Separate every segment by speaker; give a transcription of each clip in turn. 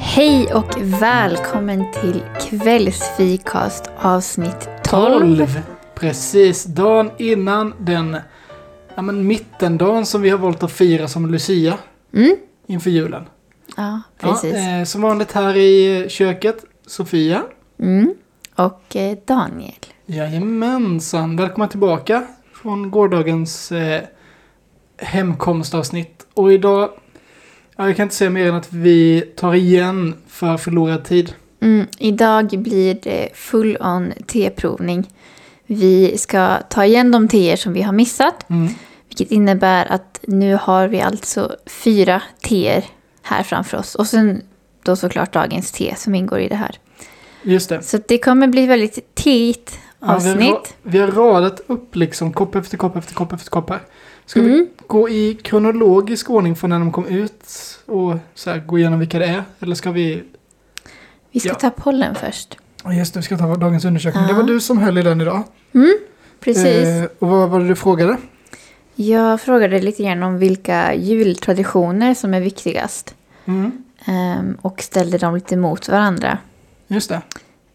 Speaker 1: Hej och välkommen till kvällsfikast avsnitt 12.
Speaker 2: 12. Precis, dagen innan den ja, men mittendagen som vi har valt att fira som Lucia
Speaker 1: Mm.
Speaker 2: inför julen.
Speaker 1: Ja, precis.
Speaker 2: Ja, eh, som vanligt här i köket, Sofia.
Speaker 1: Mm. Och eh, Daniel.
Speaker 2: Jajamensan, välkomna tillbaka från gårdagens eh, hemkomstavsnitt. Och idag, ja, jag kan inte säga mer än att vi tar igen för förlorad tid.
Speaker 1: Mm. Idag blir det full on teprovning. Vi ska ta igen de teer som vi har missat.
Speaker 2: Mm.
Speaker 1: Vilket innebär att nu har vi alltså fyra teer här framför oss. Och sen då såklart dagens te som ingår i det här.
Speaker 2: Just det.
Speaker 1: Så det kommer bli väldigt teigt
Speaker 2: Ja, vi har ra-
Speaker 1: avsnitt.
Speaker 2: vi har radat upp liksom kopp efter kopp efter kopp efter kopp här. Ska vi
Speaker 1: Mm.
Speaker 2: gå i kronologisk ordning från när de kom ut och så här, gå igenom vilka det är? Eller ska vi...
Speaker 1: Vi ska
Speaker 2: Ja.
Speaker 1: ta pollen först.
Speaker 2: Ja, Just det, vi ska ta dagens undersökning.
Speaker 1: Ja.
Speaker 2: Det var du som höll i den idag.
Speaker 1: Precis.
Speaker 2: Eh, och vad var det du frågade?
Speaker 1: Jag frågade lite grann om vilka jultraditioner som är viktigast.
Speaker 2: Mm.
Speaker 1: ehm, Och ställde dem lite mot varandra.
Speaker 2: Just det.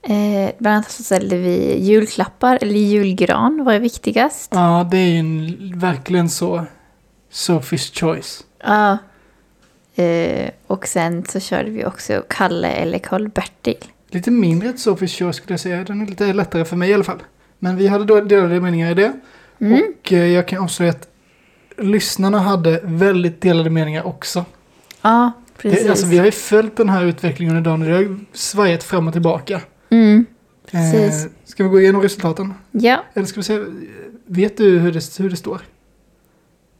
Speaker 1: Eh, Bland annat så ställde vi julklappar eller julgran. Vad är viktigast? Ja,
Speaker 2: Ja, det är ju en, verkligen så. Sophie's choice.
Speaker 1: Ah. Eh, och sen så körde vi också Kalle eller Karl-Bertil.
Speaker 2: Lite mindre ett Sophie's choice skulle jag säga. Den är lite lättare för mig i alla fall. Men vi hade då delade meningar i det.
Speaker 1: Mm.
Speaker 2: Och eh, jag kan avslöja att lyssnarna hade väldigt delade meningar också.
Speaker 1: Ja, precis.
Speaker 2: Det, alltså, vi har ju följt den här utvecklingen under dagen och det har ju svajat fram och tillbaka.
Speaker 1: mm. Precis.
Speaker 2: Eh, ska vi gå igenom resultaten?
Speaker 1: Ja,
Speaker 2: Eller ska vi se, vet du hur det, hur det står?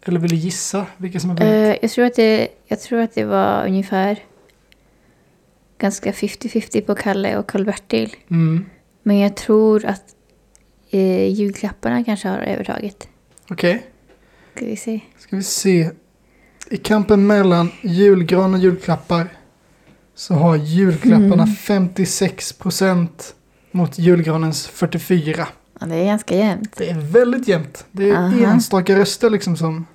Speaker 2: Eller vill du gissa vilka som har vunnit?
Speaker 1: eh, jag, tror att det, jag tror att det var ungefär ganska 50-50 på Kalle och Karl-Bertil.
Speaker 2: Mm.
Speaker 1: Men jag tror att eh, julklapparna kanske har övertaget.
Speaker 2: Okej,
Speaker 1: Ska vi se.
Speaker 2: ska vi se. I kampen mellan julgran och julklappar så har julklapparna
Speaker 1: Mm.
Speaker 2: 56% mot julgranens 44%.
Speaker 1: Ja, det är ganska jämnt.
Speaker 2: Det är väldigt jämnt. Det är
Speaker 1: Aha.
Speaker 2: enstaka röster liksom som,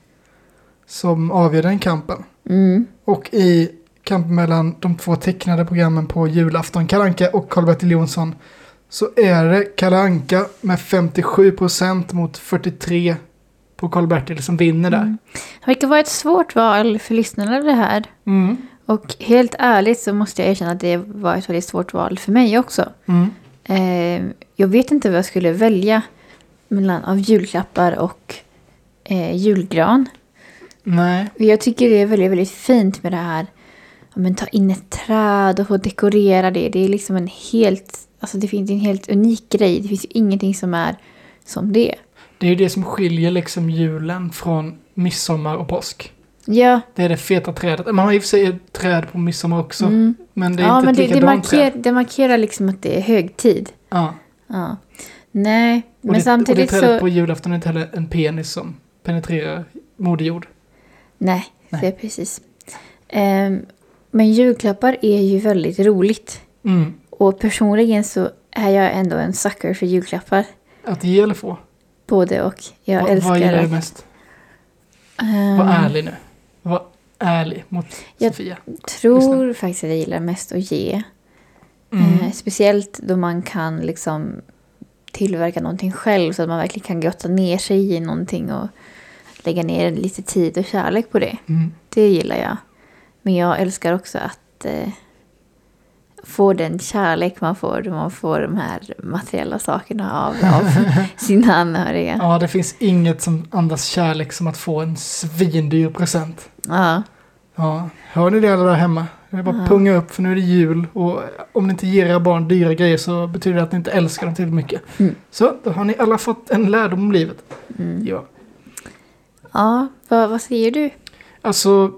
Speaker 2: som avgör den kampen.
Speaker 1: Mm.
Speaker 2: Och i kampen mellan de två tecknade programmen på julafton, Kalle Anka och Karl-Bertil Jonsson, så är det Kalle Anka med 57% mot 43% på Karl-Bertil som vinner där.
Speaker 1: Mm. Det verkar vara ett svårt val för lyssnarna det här.
Speaker 2: Mm.
Speaker 1: Och helt ärligt så måste jag erkänna att det var ett väldigt svårt val för mig också.
Speaker 2: Mm.
Speaker 1: Eh, jag vet inte vad jag skulle välja mellan av julklappar och eh, julgran.
Speaker 2: Nej,
Speaker 1: Och Jag tycker det är väldigt, väldigt fint med det här. Ja, men ta in ett träd och få dekorera det. Det är liksom en helt, alltså det finns en helt unik grej. Det finns ju ingenting som är som det.
Speaker 2: det är ju det som skiljer liksom julen från midsommar och påsk.
Speaker 1: Ja,
Speaker 2: Det är det feta trädet. Man har i och för sig ett träd på midsommar också.
Speaker 1: mm.
Speaker 2: Men det är
Speaker 1: ja
Speaker 2: inte
Speaker 1: men
Speaker 2: ett
Speaker 1: det, det,
Speaker 2: likadant
Speaker 1: markerar,
Speaker 2: träd.
Speaker 1: det markerar liksom att det är högtid.
Speaker 2: Ja.
Speaker 1: Ja. Nej,
Speaker 2: Och
Speaker 1: men
Speaker 2: det,
Speaker 1: samtidigt
Speaker 2: och det trädet
Speaker 1: så...
Speaker 2: på julafton är inte heller en penis som penetrerar moderjord.
Speaker 1: Nej,
Speaker 2: Nej.
Speaker 1: det är precis. Ehm, men julklappar är ju väldigt roligt.
Speaker 2: Mm.
Speaker 1: Och personligen så är jag ändå en sucker för julklappar.
Speaker 2: Att ge eller få?
Speaker 1: Både och. Jag
Speaker 2: Vad-
Speaker 1: älskar
Speaker 2: vad gillar
Speaker 1: det.
Speaker 2: du mest?
Speaker 1: Ehm,
Speaker 2: Var ärlig nu. Var ärlig mot
Speaker 1: Jag-
Speaker 2: Sofia.
Speaker 1: tror faktiskt att jag gillar mest att ge.
Speaker 2: Mm.
Speaker 1: Eh, speciellt då man kan liksom tillverka någonting själv så att man verkligen kan grotta ner sig i någonting och lägga ner lite tid och kärlek på det.
Speaker 2: Mm.
Speaker 1: Det gillar jag. Men jag älskar också att eh, få den kärlek man får då man får de här materiella sakerna av, av sina anhöriga.
Speaker 2: Ja, det finns inget som andas kärlek som att få en svindyr present.
Speaker 1: Ja.
Speaker 2: Ja, hör ni det alla där hemma? Det är bara
Speaker 1: Ja.
Speaker 2: punga upp för nu är det jul och om ni inte ger era barn dyra grejer så betyder det att ni inte älskar dem tillräckligt mycket.
Speaker 1: Mm.
Speaker 2: Så, då har ni alla fått en lärdom om livet.
Speaker 1: Mm.
Speaker 2: Ja.
Speaker 1: Ja, vad, vad säger du?
Speaker 2: Alltså,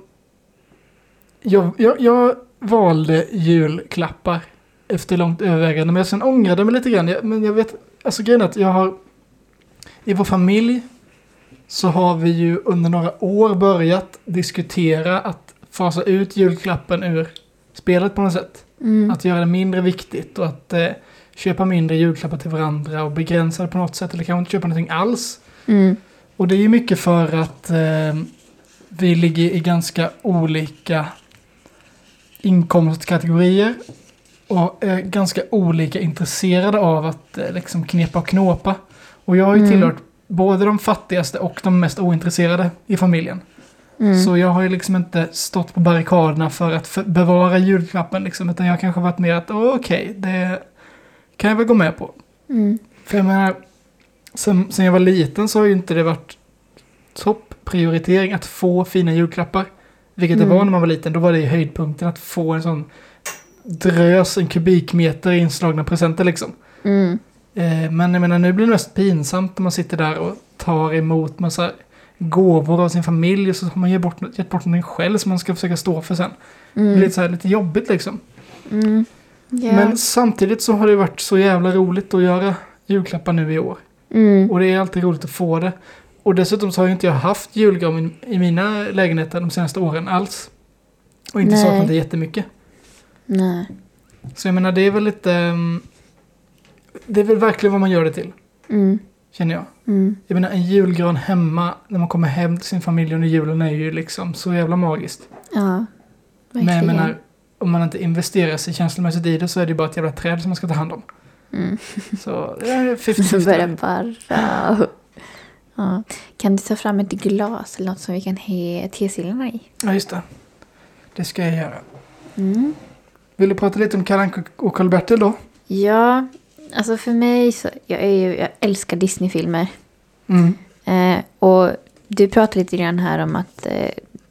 Speaker 2: jag, jag, jag valde julklappar efter långt övervägande, men jag sen ångrade mig lite grann. Jag, men jag vet, alltså grejen är att jag har, i vår familj så har vi ju under några år börjat diskutera att fasa ut julklappen ur spelet på något sätt.
Speaker 1: Mm.
Speaker 2: Att göra det mindre viktigt och att eh, köpa mindre julklappar till varandra och begränsa det på något sätt, eller kanske inte köpa någonting alls.
Speaker 1: Mm.
Speaker 2: Och det är ju mycket för att eh, vi ligger i ganska olika inkomstkategorier och är ganska olika intresserade av att eh, liksom knepa och knåpa. Och jag har ju
Speaker 1: Mm.
Speaker 2: tillhört både de fattigaste och de mest ointresserade i familjen.
Speaker 1: Mm.
Speaker 2: Så jag har ju liksom inte stått på barrikaderna för att för- bevara julklappen liksom, utan jag har kanske varit mer att "Åh, okej, det kan jag väl gå med på.
Speaker 1: Mm.
Speaker 2: För jag menar, sen, sen jag var liten så har ju inte det varit topprioritering att få fina julklappar. Vilket det
Speaker 1: Mm.
Speaker 2: var när man var liten, då var det ju höjdpunkten att få en sån drös, en kubikmeter inslagna presenter liksom.
Speaker 1: Mm.
Speaker 2: Eh, men jag menar, nu blir det mest pinsamt när man sitter där och tar emot massa gåvor av sin familj och så har man gett bort, gett bort någonting själv som man ska försöka stå för sen. Det blir
Speaker 1: Mm.
Speaker 2: lite, så här, lite jobbigt liksom.
Speaker 1: Mm. Ja.
Speaker 2: Men samtidigt så har det varit så jävla roligt att göra julklappar nu i år.
Speaker 1: mm.
Speaker 2: Och det är alltid roligt att få det. Och dessutom så har ju inte jag haft julgran i- i mina lägenheter de senaste åren alls. Och inte
Speaker 1: Nej.
Speaker 2: saknat det jättemycket.
Speaker 1: Nej.
Speaker 2: Så jag menar, det är väl lite... ehm, Det är väl verkligen vad man gör det till,
Speaker 1: Mm.
Speaker 2: känner jag.
Speaker 1: Mm.
Speaker 2: Jag menar, en julgran hemma, när man kommer hem till sin familj under julen, är ju liksom så jävla magiskt.
Speaker 1: Ja.
Speaker 2: Men jag
Speaker 1: Verkligen.
Speaker 2: menar, om man inte investerar sig känslomässigt i det så är det ju bara ett jävla träd som man ska ta hand om.
Speaker 1: Mm.
Speaker 2: Så, det är
Speaker 1: Så
Speaker 2: 50-50.
Speaker 1: börjar barra. Ja. Kan du ta fram ett glas eller något som vi kan ha tesillarna i?
Speaker 2: Ja, just det. Det ska jag göra.
Speaker 1: Mm.
Speaker 2: Vill du prata lite om Kalle Anka och Karl-Bertil då?
Speaker 1: Ja, alltså för mig så... Jag, är ju, jag älskar Disney-filmer.
Speaker 2: Mm.
Speaker 1: Eh, och du pratade lite grann här om att eh,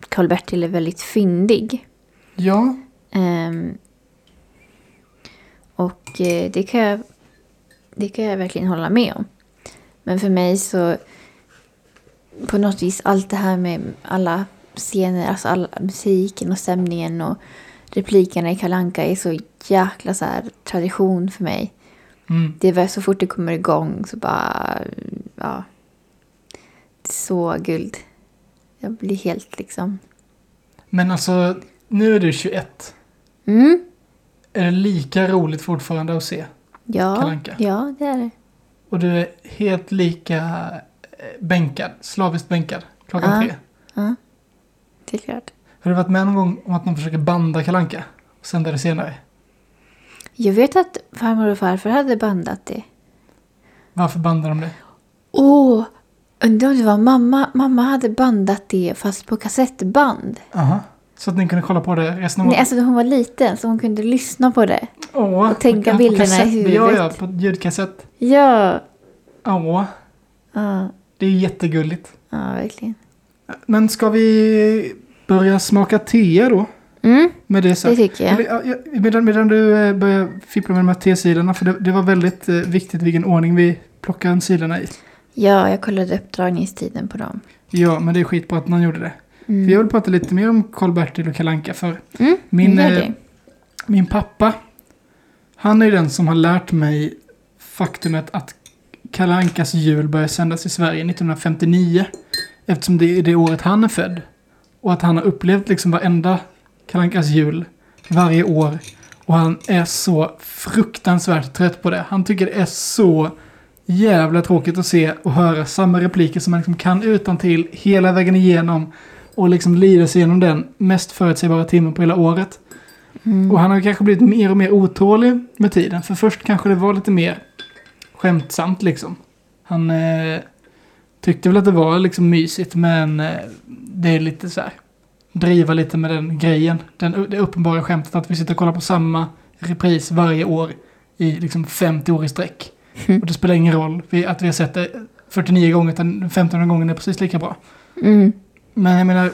Speaker 1: Karl-Bertil är väldigt fyndig.
Speaker 2: Ja,
Speaker 1: Ehm, och eh, det, kan jag, det kan jag verkligen hålla med om. Men för mig så... På något vis allt det här med alla scener, alltså all musiken och stämningen och replikerna i Kalle Anka är så jäkla så här tradition för mig.
Speaker 2: mm.
Speaker 1: Det var så fort det kommer igång så bara... Ja. Så guld. Jag blir helt liksom...
Speaker 2: men alltså nu är du 21.
Speaker 1: Mm.
Speaker 2: Är det lika roligt fortfarande att se? Kalle
Speaker 1: Ja,
Speaker 2: Anka.
Speaker 1: ja, det är det.
Speaker 2: Och du är helt lika eh, bänkad, slaviskt bänkad, klockan
Speaker 1: Ja.
Speaker 2: tre.
Speaker 1: Ja. Det är klart.
Speaker 2: Har du varit med någon gång om att någon försöker banda Kalle Anka och sända det senare?
Speaker 1: Jag vet att farmor och farfar hade bandat det.
Speaker 2: Varför bandar de det?
Speaker 1: Åh! undrar om det var mamma. Mamma hade bandat det fast på kassettband.
Speaker 2: Aha. Så att ni kunde kolla på det resten av
Speaker 1: Nej, alltså när hon var liten så hon kunde lyssna på det.
Speaker 2: Åh,
Speaker 1: och tänka
Speaker 2: på- på
Speaker 1: bilderna i
Speaker 2: kassett. Ja, ja,
Speaker 1: huvudet.
Speaker 2: på ljudkassett.
Speaker 1: Ja.
Speaker 2: Åh,
Speaker 1: Ja,
Speaker 2: det är ju jättegulligt.
Speaker 1: ja verkligen.
Speaker 2: Men ska vi börja smaka te då?
Speaker 1: Mm,
Speaker 2: Med det sagt.
Speaker 1: det tycker jag.
Speaker 2: Eller, ja, ja, Medan, medan du eh, börjar fippla med de här T-sidorna, för det, det var väldigt eh, viktigt vilken ordning vi plockar en sidorna i.
Speaker 1: Ja, jag kollade upp dragningstiden på dem.
Speaker 2: Ja, men det är skitbra att någon gjorde det.
Speaker 1: Mm.
Speaker 2: För jag vill prata lite mer om Karl-Bertil och Kalle Anka, för
Speaker 1: Mm,
Speaker 2: min,
Speaker 1: gör
Speaker 2: eh,
Speaker 1: det.
Speaker 2: min pappa, han är ju den som har lärt mig faktumet att Kalle Ankas jul började sändas i Sverige 1959, eftersom det är det året han är född. Och att han har upplevt liksom varenda Kalle Ankas jul varje år. Och han är så fruktansvärt trött på det. Han tycker det är så jävla tråkigt att se och höra samma repliker som man liksom kan utan till hela vägen igenom. Och liksom lida sig igenom den mest förutsägbara timmen på hela året.
Speaker 1: Mm.
Speaker 2: Och han har kanske blivit mer och mer otålig med tiden. För först kanske det var lite mer skämtsamt liksom. Han eh, tyckte väl att det var liksom mysigt men eh, det är lite så här. Driva lite med den grejen. Den, det uppenbara skämtet att vi sitter och kollar på samma repris varje år i liksom 50 år i sträck.
Speaker 1: Mm.
Speaker 2: Och det spelar ingen roll vi, att vi har sett det 49 gånger utan den 15 gången är precis lika bra.
Speaker 1: Mm.
Speaker 2: Men jag menar,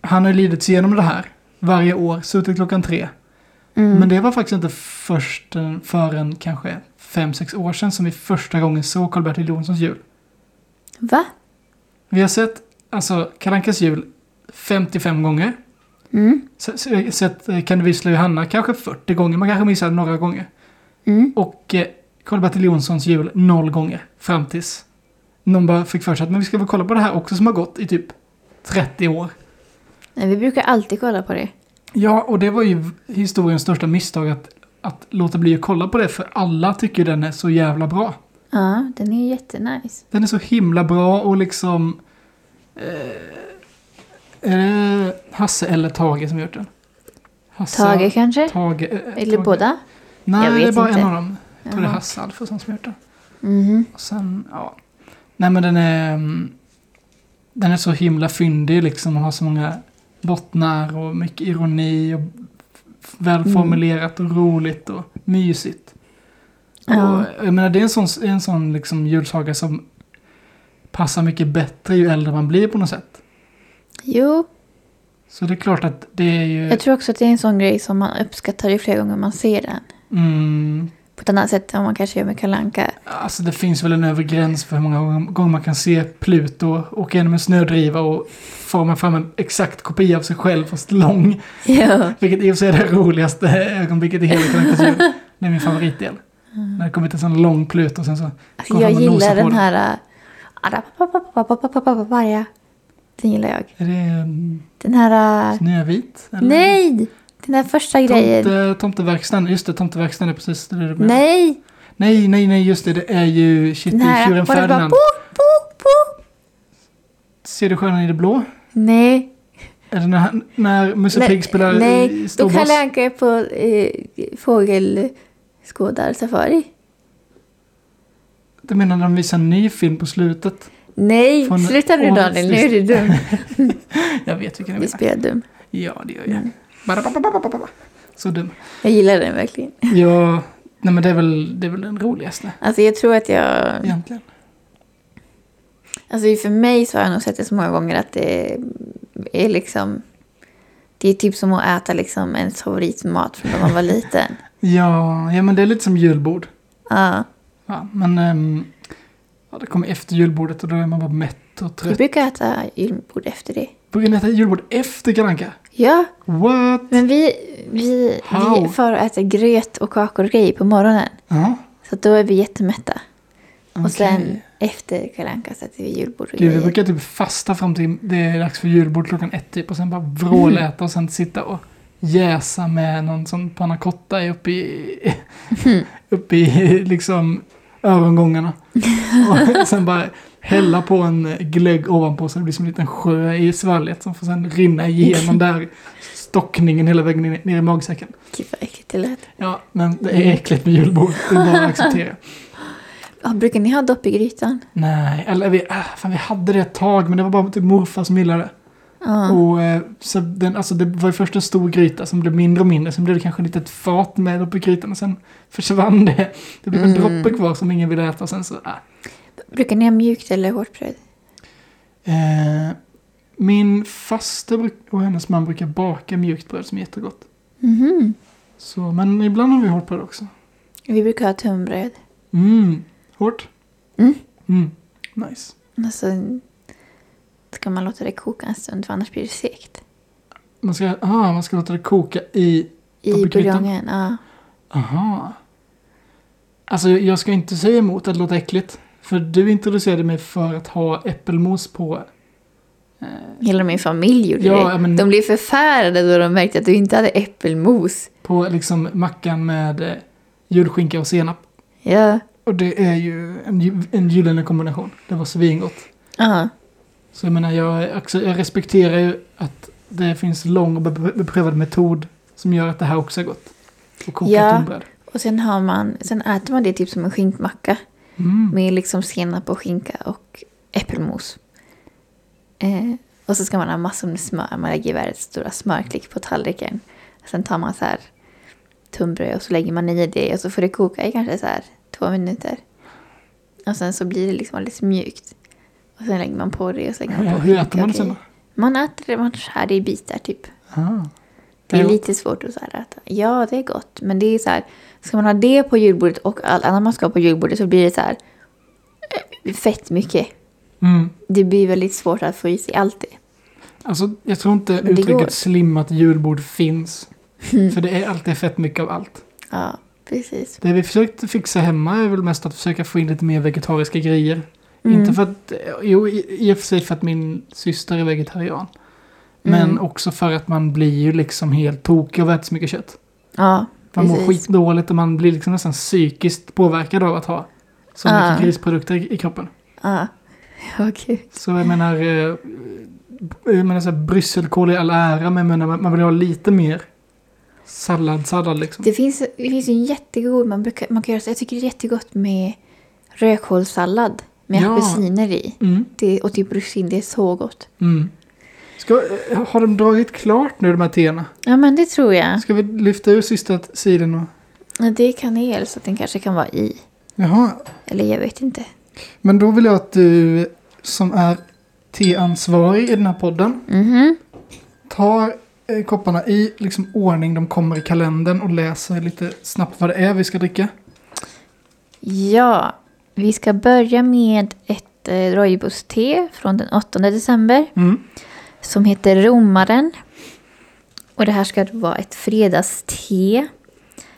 Speaker 2: han har ju lidit sig igenom det här varje år, suttit klockan tre.
Speaker 1: Mm.
Speaker 2: Men det var faktiskt inte först, förrän kanske fem sex år sedan som vi första gången såg Karl-Bertil Jonssons jul.
Speaker 1: Va?
Speaker 2: Vi har sett alltså Kalle Ankas jul 55 gånger.
Speaker 1: Mm.
Speaker 2: Se- se- Sett eh, Kan du vissla Johanna kanske 40 gånger, man kanske missade några gånger.
Speaker 1: Mm.
Speaker 2: Och eh, Karl-Bertil Jonssons jul noll gånger fram tills någon bara fick för sig att men vi ska väl kolla på det här också som har gått i typ 30 år.
Speaker 1: Nej, vi brukar alltid kolla på det.
Speaker 2: Ja, och det var ju historiens största misstag att, att låta bli att kolla på det, för alla tycker ju den är så jävla bra.
Speaker 1: Ja, den är jättenice.
Speaker 2: Den är så himla bra och liksom... Eh, är det Hasse eller Tage som gjort den? Hasse-
Speaker 1: Tage kanske?
Speaker 2: Tage, eh,
Speaker 1: Eller
Speaker 2: Tage.
Speaker 1: båda?
Speaker 2: Nej,
Speaker 1: Jag
Speaker 2: det är
Speaker 1: vet
Speaker 2: bara
Speaker 1: inte.
Speaker 2: en av dem. Jag tror det är
Speaker 1: Jaha.
Speaker 2: Hasse Alfredsson som gjort det.
Speaker 1: Mhm.
Speaker 2: Och sen, ja. Nej men den är... mm, Den är så himla fyndig liksom och har så många bottnar och mycket ironi och f- välformulerat och roligt och mysigt.
Speaker 1: Ja.
Speaker 2: Och, jag menar det är en sån, en sån liksom julsaga som passar mycket bättre ju äldre man blir på något sätt.
Speaker 1: Jo,
Speaker 2: Så det är klart att det är ju...
Speaker 1: jag tror också att det är en sån grej som man uppskattar ju fler gånger man ser den.
Speaker 2: Mm,
Speaker 1: På ett annat sätt än vad man kanske gör med Kalle Anka.
Speaker 2: Alltså det finns väl en övre gräns för hur många gång- gånger man kan se Pluto åka genom en snödriva och forma fram en exakt kopia av sig själv fast lång.
Speaker 1: Ja.
Speaker 2: Vilket i och för sig är det roligaste ögonblicket i hela Kalle Ankas jul. Det är min favoritdel.
Speaker 1: Mm.
Speaker 2: När det kommer till en sån lång Pluto och sen så...
Speaker 1: Alltså,
Speaker 2: Går
Speaker 1: jag
Speaker 2: fram och nosar
Speaker 1: gillar
Speaker 2: på
Speaker 1: den
Speaker 2: den.
Speaker 1: här... äh, Den gillar jag.
Speaker 2: Är det mm,
Speaker 1: Den här... äh,
Speaker 2: Snövit? Eller?
Speaker 1: Nej! Den där första grejen.
Speaker 2: Tomte, tomteverkstan, just det, tomteverkstan är precis det du menar.
Speaker 1: Nej!
Speaker 2: nej, nej, nej, just det, det är ju shit,
Speaker 1: Den
Speaker 2: det är
Speaker 1: här...
Speaker 2: tjuren
Speaker 1: Var det bara
Speaker 2: Ferdinand.
Speaker 1: boop, boop, boop?
Speaker 2: Ser du stjärnan i det blå?
Speaker 1: Nej.
Speaker 2: Är det när, han- när Musse
Speaker 1: Nej,
Speaker 2: Pigg spelar
Speaker 1: Nej,
Speaker 2: eh,
Speaker 1: då
Speaker 2: storboss?
Speaker 1: Kalle Anka är på eh, fågelskådarsafari.
Speaker 2: Du menar när de visar en ny film på slutet?
Speaker 1: Nej,
Speaker 2: Från
Speaker 1: sluta nu
Speaker 2: årets
Speaker 1: Daniel, nu är du dum.
Speaker 2: Jag vet vilken du
Speaker 1: Du
Speaker 2: menar.
Speaker 1: spelar dum.
Speaker 2: Ja, det gör
Speaker 1: Mm.
Speaker 2: jag. Badabababababa. Så dum.
Speaker 1: Jag gillar den verkligen.
Speaker 2: Ja, nej men det är väl, det är väl den roligaste
Speaker 1: Alltså jag tror att jag...
Speaker 2: egentligen.
Speaker 1: Alltså för mig så har jag nog sett det så många gånger att det är liksom... Det är typ som att äta liksom ens favoritmat från när man var liten.
Speaker 2: Ja, ja men det är lite som julbord.
Speaker 1: Ja,
Speaker 2: Ja, men ehm, ja, det kommer efter julbordet och då är man bara mätt och
Speaker 1: jag
Speaker 2: trött.
Speaker 1: brukar äta julbord efter det.
Speaker 2: Brukar ni äta julbord efter Kalle Anka?
Speaker 1: Ja,
Speaker 2: What?
Speaker 1: men vi, vi, vi
Speaker 2: How?
Speaker 1: får äta gröt och kakor och grejer på morgonen.
Speaker 2: Ja,
Speaker 1: Så då är vi jättemätta.
Speaker 2: okej.
Speaker 1: Och sen efter Kalle Anka sätter vi julbord och
Speaker 2: Gud, vi
Speaker 1: grejer.
Speaker 2: brukar typ fasta fram till det är dags för julbord klockan ett typ och sen bara vråläta och sen sitta och jäsa med någon sån pannacotta uppe i, uppe i liksom örongångarna. Och sen bara hälla på en glögg ovanpå så det blir som en liten sjö i svalget som får sen rinna igenom där stockningen hela vägen ner, ner i magsäcken.
Speaker 1: Gud vad äckligt det lät.
Speaker 2: Ja, men det är äckligt med julbord. Det är bara att acceptera.
Speaker 1: Ja, brukar ni ha dopp i grytan?
Speaker 2: Nej, eller vi, ah, fan, vi hade det ett tag men det var bara typ morfar som gillade det.
Speaker 1: Ja.
Speaker 2: Och, eh, så den, alltså det var ju först en stor gryta som blev mindre och mindre, sen blev det kanske ett litet fat med uppe i grytan och sen försvann det. Det blev en
Speaker 1: Mm.
Speaker 2: droppe kvar som ingen ville äta och sen så, äh.
Speaker 1: Brukar ni ha mjukt eller hårt bröd?
Speaker 2: eh, Min faster bruk- och hennes man brukar baka mjukt bröd som är jättegott.
Speaker 1: Mhm.
Speaker 2: Så, men ibland har vi hårt bröd också.
Speaker 1: Vi brukar ha tunnbröd.
Speaker 2: Mm, hårt?
Speaker 1: Mm.
Speaker 2: Mm, nice.
Speaker 1: Alltså, ska man låta det koka en stund för annars blir det segt.
Speaker 2: Man ska, ah, man ska låta det koka i Dopp
Speaker 1: I
Speaker 2: i grytan?
Speaker 1: buljongen, ja.
Speaker 2: Aha. Alltså jag ska inte säga emot att det låter äckligt. För du introducerade mig för att ha äppelmos på.
Speaker 1: Hela min familj gjorde
Speaker 2: Ja, Mm.
Speaker 1: det.
Speaker 2: men-
Speaker 1: De blev förfärade då de märkte att du inte hade äppelmos.
Speaker 2: På liksom mackan med eh, julskinka och senap.
Speaker 1: Ja.
Speaker 2: Och det är ju en, ju- en gyllene kombination. Det var svingott.
Speaker 1: Ja.
Speaker 2: Så jag menar jag, är också, jag respekterar ju att det finns lång och bepr- beprövad metod som gör att det här också är gott. Och koka
Speaker 1: Ja.
Speaker 2: tunnbröd.
Speaker 1: Och sen, har man, sen äter man det typ som en skinkmacka.
Speaker 2: Mm.
Speaker 1: Med liksom senap och skinka och äppelmos. Eh, och så ska man ha massor med smör. Man lägger världens stora smörklick på tallriken. Sen tar man så här tunnbröd och så lägger man i det och så får det koka i kanske så här två minuter. Och sen så blir det liksom alldeles mjukt. Och sen lägger man på det och så lägger man på
Speaker 2: Ja, hur äter
Speaker 1: skinka
Speaker 2: man det
Speaker 1: och
Speaker 2: sen då?
Speaker 1: grejer. Man äter det, man skär det i bitar typ.
Speaker 2: Ah.
Speaker 1: Det
Speaker 2: Är
Speaker 1: är
Speaker 2: det
Speaker 1: lite svårt att så här äta. Ja, det är gott. Men det är så här, ska man ha det på julbordet och allt annat man ska ha på julbordet så blir det så här eh, fett mycket.
Speaker 2: Mm.
Speaker 1: Det blir väldigt svårt att få i sig allt det.
Speaker 2: Alltså, jag tror inte
Speaker 1: det
Speaker 2: uttrycket
Speaker 1: går.
Speaker 2: slimmat julbord finns.
Speaker 1: Mm.
Speaker 2: För det är alltid fett mycket av allt.
Speaker 1: Ja, precis.
Speaker 2: Det vi försökt fixa hemma är väl mest att försöka få in lite mer vegetariska grejer.
Speaker 1: Mm.
Speaker 2: Inte för att, jo i i och för sig för att min syster är vegetarian. Men
Speaker 1: Mm.
Speaker 2: också för att man blir ju liksom helt tokig av att äta så mycket kött.
Speaker 1: Ja,
Speaker 2: Man mår
Speaker 1: precis.
Speaker 2: skitdåligt och man blir liksom nästan psykiskt påverkad av att ha så
Speaker 1: Ah.
Speaker 2: mycket grisprodukter i i kroppen.
Speaker 1: Ja. Ja, okej.
Speaker 2: Så jag menar, eh, jag menar så här, brysselkål i all ära, men jag menar, man man vill ha lite mer Sallad, sallad liksom.
Speaker 1: Det finns, det finns ju en jättegod, man, brukar, man kan göra så, jag tycker det är jättegott med rödkålssallad med
Speaker 2: Ja.
Speaker 1: apelsiner i.
Speaker 2: Mm,
Speaker 1: Det, och typ russin, det är så gott.
Speaker 2: mm. Ska, eh, har de dragit klart nu de här teerna?
Speaker 1: Ja men det tror jag.
Speaker 2: Ska vi lyfta ur sista sidan? Och...
Speaker 1: Ja, Det är kanel så den kanske kan vara i.
Speaker 2: Jaha,
Speaker 1: Eller jag vet inte.
Speaker 2: men då vill jag att du som är teansvarig i den här podden
Speaker 1: Mhm.
Speaker 2: tar eh, kopparna i liksom ordning de kommer i kalendern och läser lite snabbt vad det är vi ska dricka.
Speaker 1: Ja, vi ska börja med ett eh, rooibos-te från den 8 december.
Speaker 2: Mm.
Speaker 1: som heter Romaren. Och det här ska då vara ett fredagste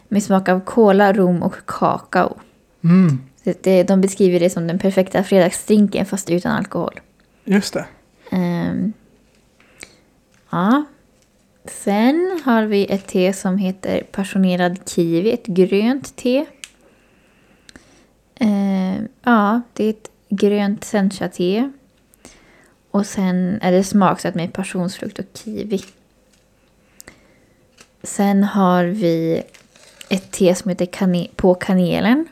Speaker 1: med smak av kola, rom och kakao.
Speaker 2: Mm.
Speaker 1: Det- det- De beskriver det som den perfekta fredagsdrinken fast utan alkohol.
Speaker 2: Just det.
Speaker 1: Ehm, ja. Sen har vi ett te som heter passionerad kiwi, ett grönt te. Ehm, ja, det är ett grönt sencha-te. Och sen är det smaksatt med passionsfrukt och kiwi. Sen har vi ett te som heter kane- På kanelen.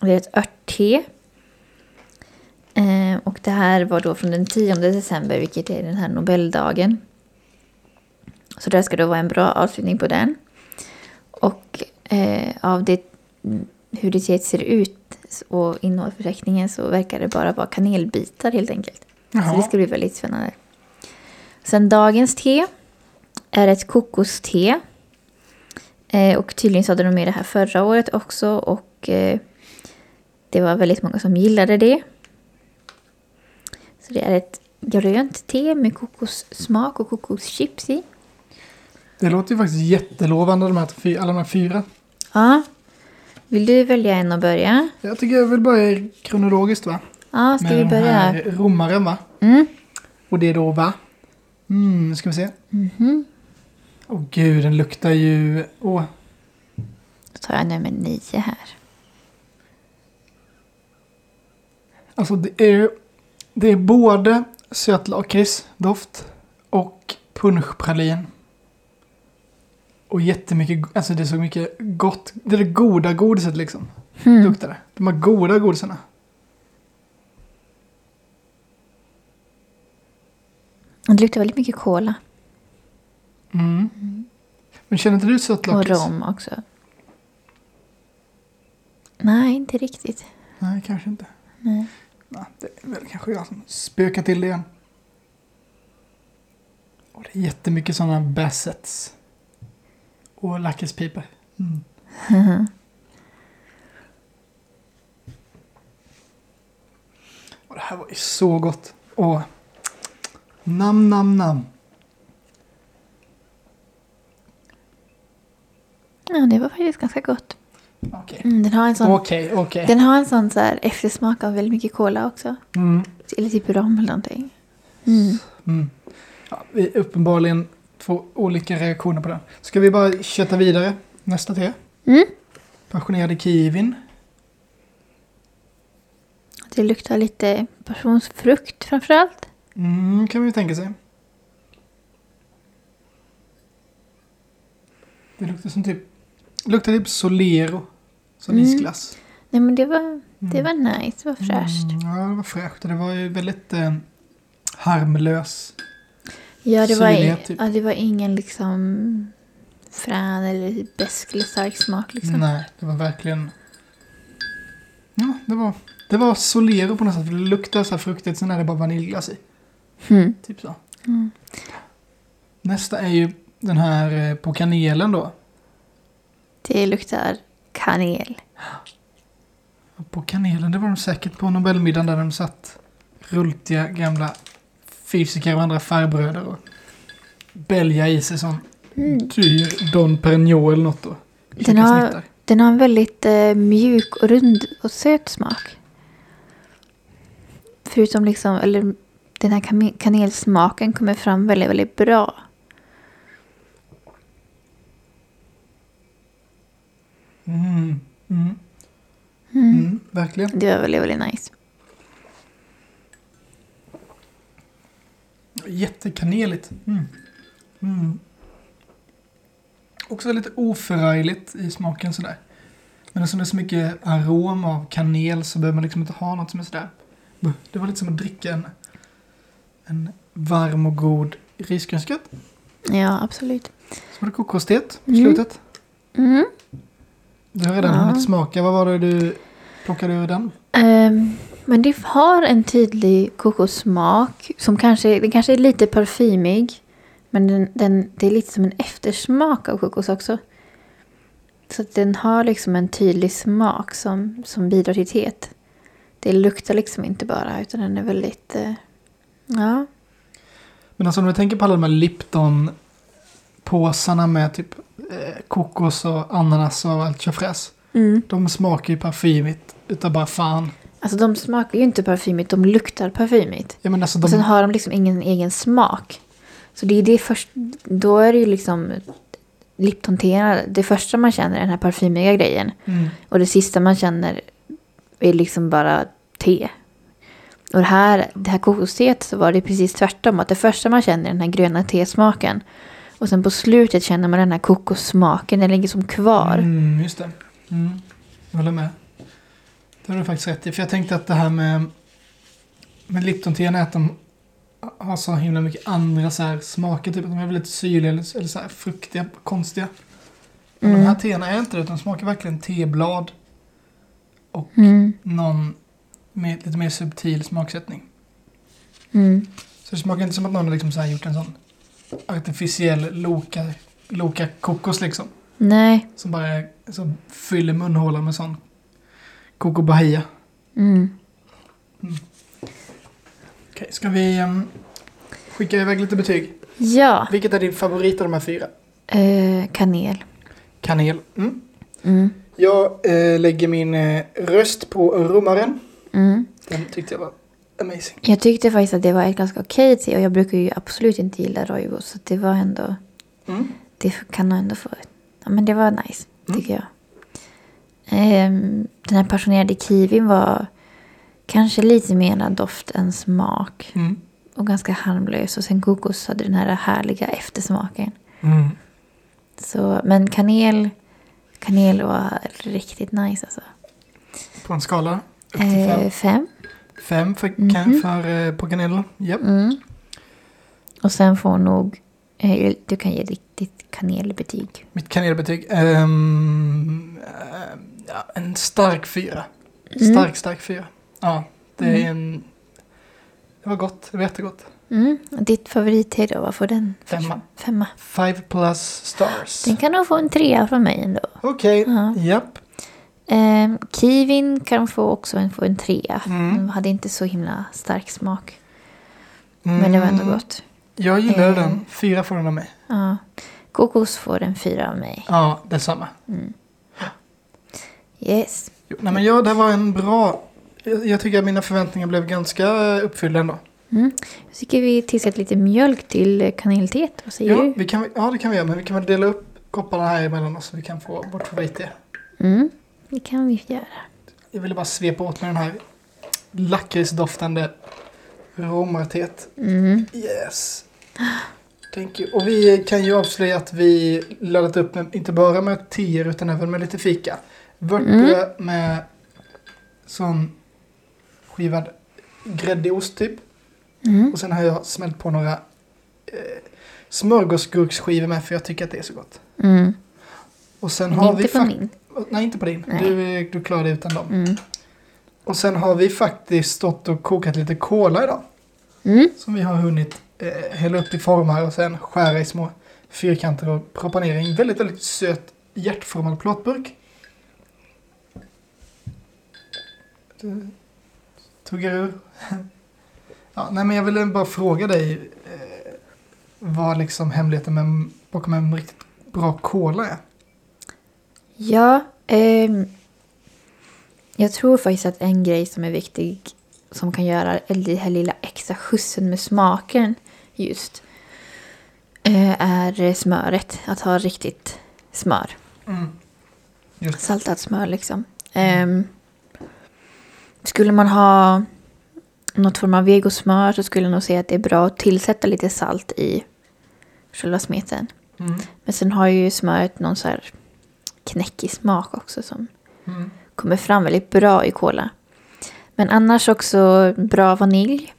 Speaker 1: Det är ett örtte. Eh, och det här var då från den 10 december, vilket är den här Nobeldagen. Så där ska då vara en bra avslutning på den. Och eh, av det, mm, hur det ser ut och innehållet på förteckningen så verkar det bara vara kanelbitar helt enkelt. Så det
Speaker 2: Jaha.
Speaker 1: ska bli väldigt spännande. Sen dagens te är ett kokoste. Eh, och tydligen så hade de med det här förra året också och eh, det var väldigt många som gillade det. Så det är ett grönt te med kokossmak och kokoschips i.
Speaker 2: Det låter ju faktiskt jättelovande de här, fy- alla de här fyra.
Speaker 1: Ja. Vill du välja en och börja?
Speaker 2: Jag tycker jag vill börja kronologiskt va?
Speaker 1: Ja, ska
Speaker 2: Med
Speaker 1: vi
Speaker 2: de
Speaker 1: börja?
Speaker 2: här romaren va?
Speaker 1: Mm.
Speaker 2: Och det är då va? Mm, ska vi se.
Speaker 1: Mhm.
Speaker 2: Åh gud, den luktar ju... Åh,
Speaker 1: Då tar jag nummer nio här.
Speaker 2: Alltså det är, det är både sötlakritsdoft och punschpralin. Och jättemycket, alltså det är så mycket gott. Det är det goda godiset liksom.
Speaker 1: Mm.
Speaker 2: Luktar det. De här goda godisarna.
Speaker 1: Det luktar väldigt mycket kola
Speaker 2: Mm. Men känner inte du
Speaker 1: och
Speaker 2: sötlakrits?
Speaker 1: rom också. Nej, inte riktigt.
Speaker 2: Nej, kanske inte.
Speaker 1: Nej.
Speaker 2: Nej, det är väl kanske jag som spökar till det igen. Och det är jättemycket sådana bassets. Och lakritspipor. Mm. Och det här var ju så gott. Och nam nam nam.
Speaker 1: Ja, det var faktiskt ganska gott.
Speaker 2: Okej,
Speaker 1: Mm, den har en sån,
Speaker 2: okej, okej.
Speaker 1: den har en sån så här eftersmak av väldigt mycket kola också.
Speaker 2: Mm,
Speaker 1: Eller typ rom eller någonting. Mm.
Speaker 2: mm. Ja, vi är uppenbarligen två olika reaktioner på det. Ska vi bara köta vidare? Nästa te.
Speaker 1: Mm.
Speaker 2: Passionerade kiwin.
Speaker 1: Det luktar lite passionsfrukt framförallt.
Speaker 2: Mm, kan man ju tänka sig. Det luktar som typ... Luktar typ Solero. Som
Speaker 1: Mm.
Speaker 2: isglass.
Speaker 1: Nej men det var, det var nice, det var fräscht.
Speaker 2: Mm, ja, det var fräscht. Och det var ju väldigt eh, harmlös.
Speaker 1: Ja, det var,
Speaker 2: Syrlighet,
Speaker 1: i-
Speaker 2: typ.
Speaker 1: ja, det var ingen liksom frän eller besk eller stark smak liksom.
Speaker 2: Nej, det var verkligen... Ja, det var... Det var Solero på något sätt. För det luktar så här fruktigt, sen är det bara vaniljglass i.
Speaker 1: Mm.
Speaker 2: Typ så.
Speaker 1: Mm.
Speaker 2: Nästa är ju den här eh, på kanelen då.
Speaker 1: Det luktar kanel.
Speaker 2: På kanelen, det var de säkert på Nobelmiddagen där de satt rultiga gamla fysiker och andra farbröder och bälja i sig som
Speaker 1: Mm.
Speaker 2: dyr Don Perignon eller något då.
Speaker 1: Den
Speaker 2: Käka
Speaker 1: har-
Speaker 2: snittar.
Speaker 1: Den har en väldigt eh, mjuk och rund och söt smak. Förutom liksom, eller den här kame- kanelsmaken kommer fram väldigt, väldigt bra.
Speaker 2: Mm,
Speaker 1: Mm.
Speaker 2: mm, mm, verkligen.
Speaker 1: Det var väldigt, väldigt nice.
Speaker 2: Jättekaneligt. Mm. Mm. också lite oförargligt i smaken sådär. Men eftersom det är så mycket arom av kanel så behöver man liksom inte ha något som är sådär. Buh. Det var lite som att dricka en, en varm och god risgrynsgröt.
Speaker 1: Ja, absolut.
Speaker 2: Så var det kokosteet på
Speaker 1: Mm.
Speaker 2: slutet.
Speaker 1: Mm.
Speaker 2: Du har redan
Speaker 1: Ja.
Speaker 2: hunnit smaka. Vad var det du plockade ur den?
Speaker 1: Ehm, men det har en tydlig kokossmak. Som kanske, den kanske är lite parfymig. Men den, den, det är lite som en eftersmak av kokos också. Så att den har liksom en tydlig smak som, som bidrar till teet. Det luktar liksom inte bara utan den är väldigt... Eh, ja.
Speaker 2: Men alltså om vi tänker på alla de här Lipton-påsarna med typ eh, kokos och ananas och allt tjofräs.
Speaker 1: Mm.
Speaker 2: De smakar ju parfymigt utav bara fan.
Speaker 1: Alltså de smakar ju inte parfymigt, de luktar parfymigt.
Speaker 2: Ja men alltså
Speaker 1: Och sen
Speaker 2: de...
Speaker 1: har de liksom ingen egen smak. Så det är det först, då är det ju liksom Lipton-teerna, det första man känner är den här parfymiga grejen.
Speaker 2: Mm.
Speaker 1: Och det sista man känner är liksom bara te. Och det här, det här kokosteet så var det precis tvärtom. Att det första man känner är den här gröna tesmaken. Och sen på slutet känner man den här kokossmaken, den ligger som kvar.
Speaker 2: Mm, just det. Mm. Jag håller med. Det har du faktiskt rätt i. För jag tänkte att det här med, med Lipton-teen är att de har så himla mycket andra så här smaker. Typ att de är väldigt syrliga eller, eller så här fruktiga, konstiga. Men
Speaker 1: Mm.
Speaker 2: de här teerna är inte det. Utan de smakar verkligen teblad.
Speaker 1: Mm,
Speaker 2: Någon med lite mer subtil smaksättning.
Speaker 1: mm.
Speaker 2: Så det smakar inte som att någon har liksom så här gjort en sån artificiell loka, loka kokos liksom.
Speaker 1: Nej.
Speaker 2: Som bara som fyller munhålan med sån Coco Bahia.
Speaker 1: Mm.
Speaker 2: Okej, ska vi ehm, skicka iväg lite betyg?
Speaker 1: Ja.
Speaker 2: Vilket är din favorit av de här fyra?
Speaker 1: Eh, kanel.
Speaker 2: Kanel. Mm.
Speaker 1: Mm.
Speaker 2: Jag eh, lägger min eh, röst på rummaren.
Speaker 1: Mm.
Speaker 2: Den tyckte jag var amazing.
Speaker 1: Jag tyckte faktiskt att det var ett ganska okej te och jag brukar ju absolut inte gilla roibos så det var ändå,
Speaker 2: Mm.
Speaker 1: det kan nog ändå få, ja men det var nice
Speaker 2: Mm.
Speaker 1: tycker jag. Ehm, den här passionerade kiwin var kanske lite mera doft än smak
Speaker 2: Mm.
Speaker 1: och ganska harmlös och sen kokos hade den här härliga eftersmaken.
Speaker 2: Mm.
Speaker 1: Så, men kanel, kanel var riktigt nice alltså.
Speaker 2: På en skala. upp till
Speaker 1: Eh,
Speaker 2: Fem.
Speaker 1: fem.
Speaker 2: Fem för, kan,
Speaker 1: Mhm.
Speaker 2: för eh, på kanelen. Japp.
Speaker 1: Mm. Och sen får nog, eh, du kan ge ditt, ditt kanelbetyg.
Speaker 2: Mitt kanelbetyg. ehm, eh, ja, en stark fyra.
Speaker 1: Mm.
Speaker 2: Stark, stark fyra. Ja, det är en... Det var gott, det var jättegott.
Speaker 1: Mm. och Ditt favoritte då, vad får den?
Speaker 2: Femma.
Speaker 1: Femma.
Speaker 2: Five plus stars.
Speaker 1: Den kan nog få en trea från mig ändå.
Speaker 2: Okej,
Speaker 1: Ja.
Speaker 2: japp.
Speaker 1: Ehm, kiwin kan få också en, få en trea.
Speaker 2: Mm.
Speaker 1: Den hade inte så himla stark smak.
Speaker 2: Mm.
Speaker 1: Men det var ändå gott.
Speaker 2: Jag gillar
Speaker 1: Eh.
Speaker 2: den. Fyra får den av mig.
Speaker 1: Ja. Kokos får en fyra av mig. Mm.
Speaker 2: Ja, detsamma.
Speaker 1: Yes.
Speaker 2: Jo, nej men ja, det var en bra... Jag, jag tycker att mina förväntningar blev ganska uppfyllda ändå.
Speaker 1: Mm. Jag tycker vi tillsätter lite mjölk till eh, kanelteet. Vad säger
Speaker 2: Ja,
Speaker 1: du?
Speaker 2: vi kan, ja, det kan vi göra. Men vi kan väl dela upp kopparna här emellan oss så vi kan få vårt favorit.
Speaker 1: Mm. Det kan vi göra.
Speaker 2: Jag ville bara svepa åt med den här lakritsdoftande romartet.
Speaker 1: Mm.
Speaker 2: Yes. Thank you. Och vi kan ju avslöja att vi laddat upp med, inte bara med tior utan även med lite fika.
Speaker 1: Mm.
Speaker 2: Vörtbröd med sån skivad gräddig ost typ.
Speaker 1: Mm.
Speaker 2: Och sen har jag smält på några eh, smörgåsgurksskivor med för jag tycker att det är så gott.
Speaker 1: Mm.
Speaker 2: Och sen
Speaker 1: Men
Speaker 2: har
Speaker 1: inte
Speaker 2: vi
Speaker 1: på
Speaker 2: fak-
Speaker 1: min.
Speaker 2: Nej, inte på din.
Speaker 1: Nej.
Speaker 2: Du, eh, du klarar dig utan dem.
Speaker 1: Mm.
Speaker 2: Och sen har vi faktiskt stått och kokat lite kola idag.
Speaker 1: Mm.
Speaker 2: Som vi har hunnit eh, hälla upp i formar och sen skära i små fyrkanter och proppa ner i en väldigt, väldigt söt hjärtformad plåtburk. Du tuggar ur. Ja, nej men jag ville bara fråga dig eh, vad liksom hemligheten med, bakom en riktigt bra kola är.
Speaker 1: Ja, ehm, jag tror faktiskt att en grej som är viktig som kan göra den här lilla extra skjutsen med smaken just eh, är smöret. Att ha riktigt smör.
Speaker 2: Mm. Just.
Speaker 1: Saltat smör liksom. Ehm, skulle man ha något form av vegosmör så skulle jag nog säga att det är bra att tillsätta lite salt i själva smeten.
Speaker 2: Mm.
Speaker 1: Men sen har ju smöret någon så här knäckig smak också som
Speaker 2: Mm.
Speaker 1: kommer fram väldigt bra i cola. Men annars också bra vanilj.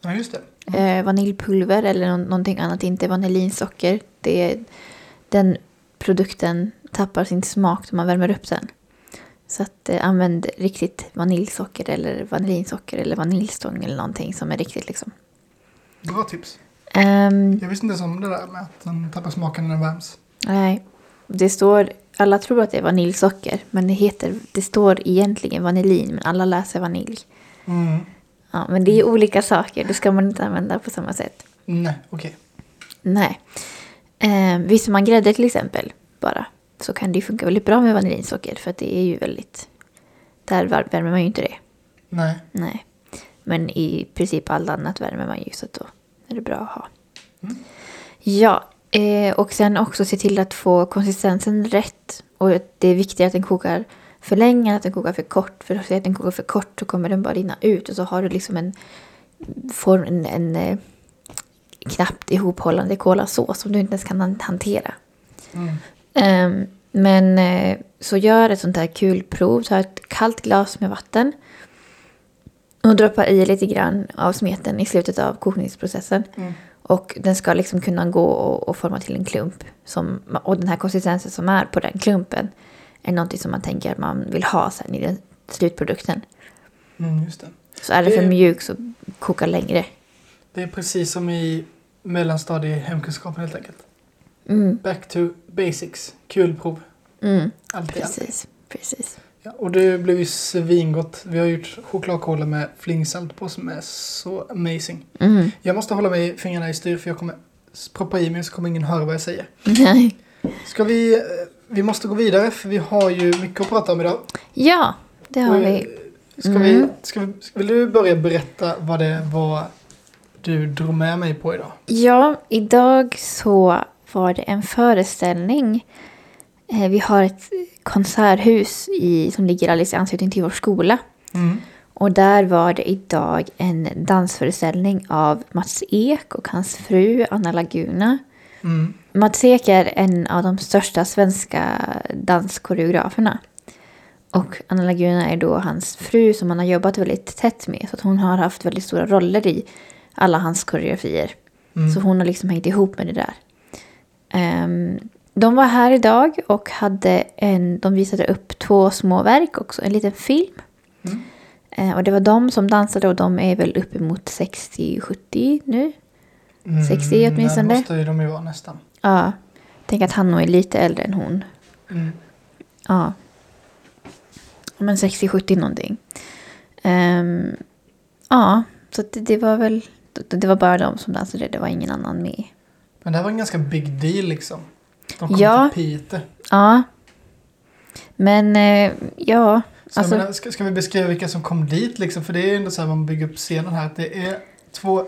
Speaker 2: Ja, just det.
Speaker 1: Eh, vaniljpulver eller nå- någonting annat, inte vanillinsocker. Det är, den produkten tappar sin smak när man värmer upp den. Så att eh, använd riktigt vaniljsocker eller vaniljsocker eller vaniljstång eller någonting som är riktigt liksom.
Speaker 2: Bra tips.
Speaker 1: Ehm,
Speaker 2: Jag visste inte ens om det där med att den tappar smaken när den värms.
Speaker 1: nej, det står, alla tror att det är vaniljsocker men det heter, det står egentligen vanillin men alla läser vanilj.
Speaker 2: Mm.
Speaker 1: Ja, men det är olika saker, det ska man inte använda på samma sätt.
Speaker 2: Nej, okej.
Speaker 1: Nej. Eh, visar man grädde till exempel bara så kan det ju funka väldigt bra med vaniljsocker för att det är ju väldigt... Där var- värmer man ju inte det.
Speaker 2: Nej.
Speaker 1: Nej. Men i princip allt annat värmer man ju så att då är det bra att ha.
Speaker 2: Mm.
Speaker 1: Ja, eh, och sen också se till att få konsistensen rätt. Och det är viktigare att den kokar för länge än att den kokar för kort. För att den kokar för kort så kommer den bara rinna ut och så har du liksom en form, en, en eh, knappt ihophållande kolasås som du inte ens kan han- hantera.
Speaker 2: Mm.
Speaker 1: Ehm, men eh, så gör ett sånt här kul prov. Ta ett kallt glas med vatten. Och droppa i lite grann av smeten i slutet av kokningsprocessen.
Speaker 2: Mm.
Speaker 1: Och den ska liksom kunna gå och, och forma till en klump. Som, och den här konsistensen som är på den klumpen är någonting som man tänker att man vill ha sen i den slutprodukten.
Speaker 2: Mm, just det.
Speaker 1: Så är den för
Speaker 2: Det-
Speaker 1: mjuk så koka längre.
Speaker 2: Det är precis som i mellanstadie hemkunskapen helt enkelt.
Speaker 1: Mm,
Speaker 2: Back to basics. Kulprov.
Speaker 1: mm,
Speaker 2: Allt igen.
Speaker 1: precis, precis.
Speaker 2: Ja, och det blev ju svingott. Vi har gjort chokladkola med flingsalt på som är så amazing.
Speaker 1: Mm.
Speaker 2: Jag måste hålla mig fingrarna i styr för jag kommer s- proppa i mig så kommer ingen höra vad jag säger.
Speaker 1: Nej.
Speaker 2: Ska vi... eh, Vi måste gå vidare för vi har ju mycket att prata om idag.
Speaker 1: Ja, det har
Speaker 2: Och, eh,
Speaker 1: vi.
Speaker 2: Ska
Speaker 1: Mm.
Speaker 2: vi, ska vi, ska- vill du börja berätta vad det var du drog med mig på idag?
Speaker 1: Ja, idag så var det en föreställning. Eh, Vi har ett konserthus i, som ligger alldeles i anslutning till vår skola. Mm. Och där var det idag en dansföreställning av Mats Ek och hans fru Anna Laguna.
Speaker 2: Mm.
Speaker 1: Mats Ek är en av de största svenska danskoreograferna. Och Anna Laguna är då hans fru som han har jobbat väldigt tätt med. Så att hon har haft väldigt stora roller i alla hans koreografier.
Speaker 2: Mm.
Speaker 1: Så hon har liksom hängt ihop med det där. Ehm, de var här idag och hade en, de visade upp två små verk också, en liten film.
Speaker 2: Mm.
Speaker 1: Eh, och det var de som dansade och de är väl uppemot 60-70 nu.
Speaker 2: Mm,
Speaker 1: 60 åtminstone.
Speaker 2: Det måste ju de ju vara nästan.
Speaker 1: Ja, tänk att han nog är lite äldre än hon.
Speaker 2: Mm.
Speaker 1: Ja. Men 60-70 någonting. Ehm, ja, så att det, det var väl, det, det var bara de som dansade, det var ingen annan med.
Speaker 2: Men det här var en ganska big deal liksom. De kom
Speaker 1: Ja.
Speaker 2: till Peter.
Speaker 1: Ja. Men eh, ja,
Speaker 2: Så
Speaker 1: Alltså-
Speaker 2: jag menar, ska, ska vi beskriva vilka som kom dit liksom? För det är ju ändå så här man bygger upp scenen här. Att det är två,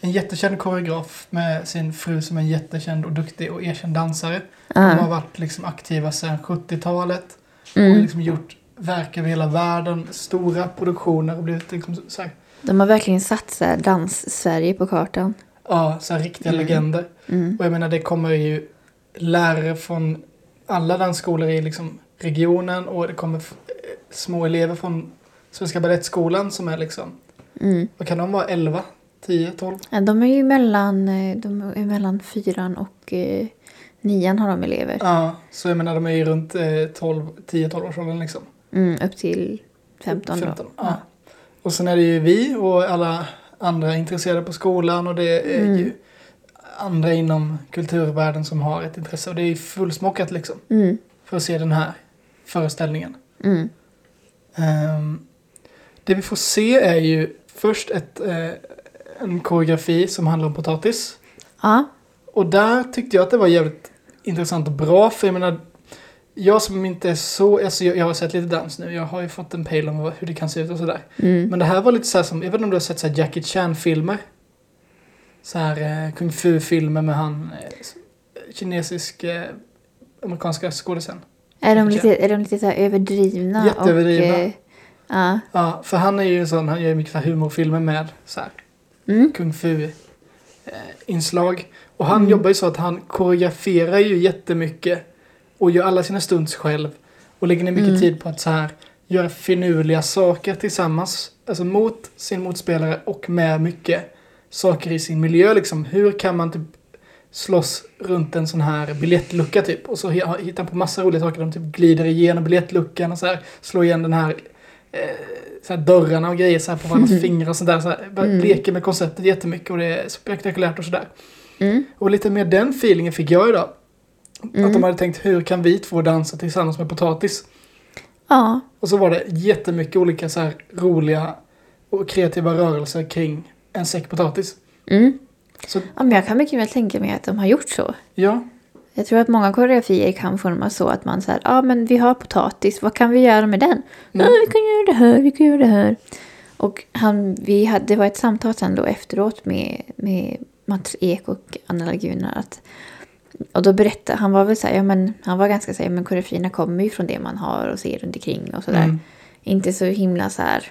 Speaker 2: en jättekänd koreograf med sin fru som är en jättekänd och duktig och erkänd dansare. De har
Speaker 1: ja.
Speaker 2: varit liksom aktiva sedan 70-talet. Och
Speaker 1: Mm.
Speaker 2: liksom gjort verk över hela världen. Stora produktioner och blivit liksom så här,
Speaker 1: de har verkligen satt så här dans-Sverige på kartan.
Speaker 2: ja, så här riktiga
Speaker 1: Mm.
Speaker 2: legender.
Speaker 1: Mm.
Speaker 2: Och jag menar det kommer ju lärare från alla dansskolor i liksom regionen och det kommer f- eh, små elever från Svenska Balettskolan som är liksom,
Speaker 1: Mm.
Speaker 2: vad kan de vara, 11, 10, 12?
Speaker 1: Ja, de är ju mellan, eh, de är mellan fyran och eh, nian har de elever.
Speaker 2: Ja, så jag menar de är ju runt eh, 12, 10-12 års åldern liksom.
Speaker 1: Mm, upp till 15 då.
Speaker 2: ja. Och sen är det ju vi och alla andra intresserade på skolan och det är
Speaker 1: Mm.
Speaker 2: ju andra inom kulturvärlden som har ett intresse och det är ju fullsmockat liksom
Speaker 1: Mm.
Speaker 2: för att se den här föreställningen.
Speaker 1: Mm.
Speaker 2: Ehm, det vi får se är ju först ett, eh, en koreografi som handlar om potatis.
Speaker 1: Ja.
Speaker 2: Och där tyckte jag att det var jävligt intressant och bra. För jag menar, jag som inte är så... Alltså jag, jag har sett lite dans nu. Jag har ju fått en pejl om vad, hur det kan se ut och sådär.
Speaker 1: Mm.
Speaker 2: Men det här var lite så här som... Jag vet inte om du har sett så här Jackie Chan-filmer? Så här eh, kung fu-filmer med han eh, s- kinesisk... Eh, amerikanska skådisen.
Speaker 1: Är de lite, är de lite så här överdrivna?
Speaker 2: Jätteöverdrivna.
Speaker 1: Och, eh, ja.
Speaker 2: Ja, för han är ju en sån... Han gör ju mycket så här humorfilmer med så här
Speaker 1: Mm.
Speaker 2: kung fu-inslag. Och han
Speaker 1: Mm.
Speaker 2: jobbar ju så att han koreograferar ju jättemycket och gör alla sina stunts själv och lägger ner mycket
Speaker 1: Mm.
Speaker 2: tid på att så här göra finurliga saker tillsammans, alltså mot sin motspelare och med mycket saker i sin miljö liksom. Hur kan man typ slåss runt en sån här biljettlucka typ och så he- hittar han på massa roliga saker. De typ glider igenom biljettluckan och så här slår igen den här, eh, så här dörrarna och grejer så här på varandras fingrar och sånt där. Så här, bara
Speaker 1: Mm.
Speaker 2: Leker med konceptet jättemycket och det är spektakulärt och sådär.
Speaker 1: Mm.
Speaker 2: Och lite mer den feelingen fick jag idag. Att de
Speaker 1: Mm.
Speaker 2: hade tänkt hur kan vi två dansa tillsammans med potatis?
Speaker 1: Ja.
Speaker 2: Och så var det jättemycket olika så här roliga och kreativa rörelser kring en säck potatis.
Speaker 1: Mm.
Speaker 2: Så
Speaker 1: ja, men jag kan mycket väl tänka mig att de har gjort så.
Speaker 2: ja,
Speaker 1: Jag tror att många koreografier kan formas så att man säger, ja ah, men vi har potatis, vad kan vi göra med den? Ja,
Speaker 2: Mm.
Speaker 1: vi kan göra det här, vi kan göra det här. Och han, vi hade, det var ett samtal sen då efteråt med, med Mats Ek och Anna Laguna att och då berättade han, var väl så här, ja men han var ganska så här, ja, men koreografierna kommer ju från det man har och ser runt omkring och sådär.
Speaker 2: Mm.
Speaker 1: Inte så himla så här,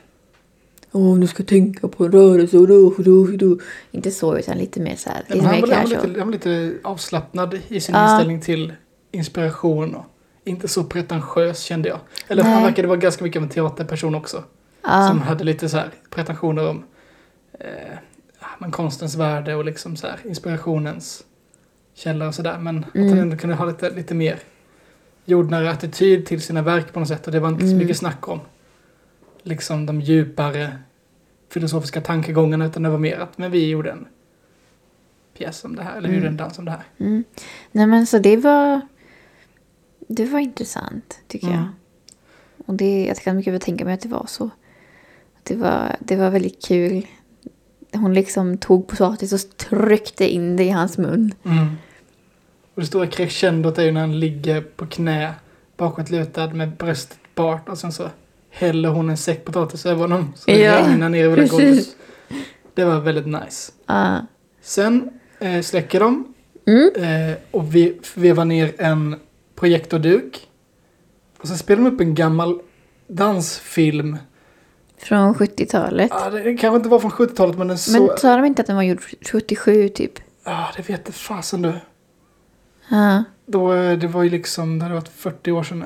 Speaker 1: åh nu ska jag tänka på en rörelse och då, och då, och då. Inte så utan lite mer så här,
Speaker 2: men
Speaker 1: lite
Speaker 2: han,
Speaker 1: mer
Speaker 2: var, han, var
Speaker 1: casual.
Speaker 2: lite, han var lite avslappnad i sin
Speaker 1: Ja.
Speaker 2: inställning till inspiration och inte så pretentiös kände jag. Eller han
Speaker 1: Nej.
Speaker 2: verkade vara ganska mycket av en teaterperson också.
Speaker 1: Ja.
Speaker 2: Som hade lite så här pretensioner om eh, ja, men konstens värde och liksom så här inspirationens källa och sådär. Men att
Speaker 1: Mm.
Speaker 2: han ändå kunde ha lite, lite mer jordnära attityd till sina verk på något sätt. Och det var inte så
Speaker 1: Mm.
Speaker 2: mycket snack om liksom de djupare filosofiska tankegångarna. Utan det var mer att men vi gjorde en pjäs om det här. Eller vi
Speaker 1: Mm.
Speaker 2: gjorde en dans om det här.
Speaker 1: Mm. Nej men så det var... Det var intressant tycker
Speaker 2: Mm.
Speaker 1: jag. Och det, jag kan mycket väl tänka mig att det var så. Det var, det var väldigt kul. Hon liksom tog potatis och tryckte in det i hans mun.
Speaker 2: Mm. Och det stora crescendot är ju när han ligger på knä bakåtlutad med bröstet bart och sen så häller hon en säck potatis över honom. Så det
Speaker 1: Ja,
Speaker 2: regnar ner över det
Speaker 1: precis.
Speaker 2: golvet. Det var väldigt nice.
Speaker 1: Ah.
Speaker 2: Sen eh, släcker de
Speaker 1: Mm.
Speaker 2: eh, och vi vevar ner en projektorduk. Och sen spelar de upp en gammal dansfilm.
Speaker 1: Från 70-talet.
Speaker 2: Ah, det kanske inte var från 70-talet men den så...
Speaker 1: Men sa de inte att den var gjord 77 typ?
Speaker 2: ah, det vet fasen du.
Speaker 1: Ja.
Speaker 2: Då, eh, det var ju liksom, det hade varit 40 år sedan nu.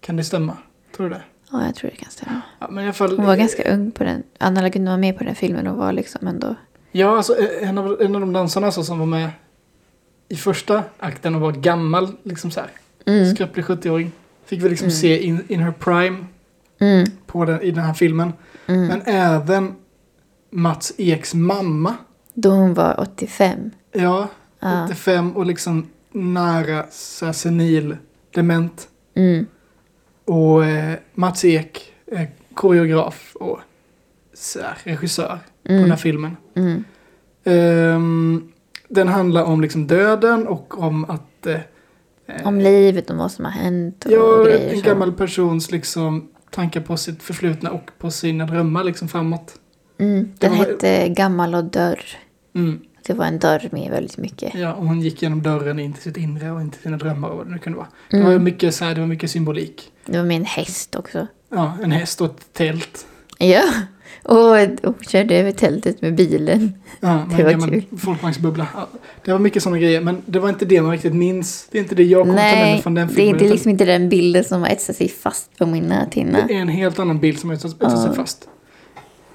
Speaker 2: Kan det stämma? Tror du det?
Speaker 1: ja, jag tror det kan stämma.
Speaker 2: Ja, men i alla fall, eh,
Speaker 1: Hon var ganska ung på den. Anna Laguna var med på den filmen och var liksom ändå...
Speaker 2: Ja, alltså eh, en av, en av de dansarna alltså, som var med i första akten och var gammal, liksom så här,
Speaker 1: Mm.
Speaker 2: skröplig 70-åring. Fick vi liksom se in, in her prime
Speaker 1: Mm.
Speaker 2: på den, i den här filmen.
Speaker 1: Mm.
Speaker 2: Men även Mats Eks mamma.
Speaker 1: Då hon var Ah. 85.
Speaker 2: Ja,
Speaker 1: Ja.
Speaker 2: 85 och liksom nära så här, senil, dement.
Speaker 1: Mm.
Speaker 2: Och eh, Mats Ek, eh, koreograf och så här, regissör på den här
Speaker 1: Mm.
Speaker 2: filmen.
Speaker 1: Mm.
Speaker 2: Ehm, den handlar om liksom döden och om att... Eh,
Speaker 1: Om livet och vad som har hänt och
Speaker 2: ja,
Speaker 1: grejer.
Speaker 2: en
Speaker 1: så.
Speaker 2: gammal persons liksom tankar på sitt förflutna och på sina drömmar liksom framåt.
Speaker 1: mm,
Speaker 2: det
Speaker 1: den
Speaker 2: var-
Speaker 1: hette Gammal och dörr.
Speaker 2: Mm.
Speaker 1: Det var en dörr med väldigt mycket.
Speaker 2: Ja, och hon gick genom dörren in till sitt inre och in till sina drömmar och vad det nu kunde vara.
Speaker 1: Mm.
Speaker 2: Det, var mycket, så här, det var mycket symbolik.
Speaker 1: Det var med en häst också.
Speaker 2: Ja, en häst och ett tält.
Speaker 1: Ja, och, och körde över tältet med bilen.
Speaker 2: Ja, med
Speaker 1: Det
Speaker 2: en
Speaker 1: var
Speaker 2: gammal folkvagnsbubbla. Ja, det var mycket sådana grejer, men det var inte det man riktigt minns. Det är inte det jag kommer ta med mig
Speaker 1: Nej,
Speaker 2: från den
Speaker 1: det,
Speaker 2: filmen.
Speaker 1: är- det är
Speaker 2: utan
Speaker 1: liksom inte den bilden som har etsat sig fast på min näthinna.
Speaker 2: Det är en helt annan bild som etsat etsat sig
Speaker 1: Ja.
Speaker 2: fast.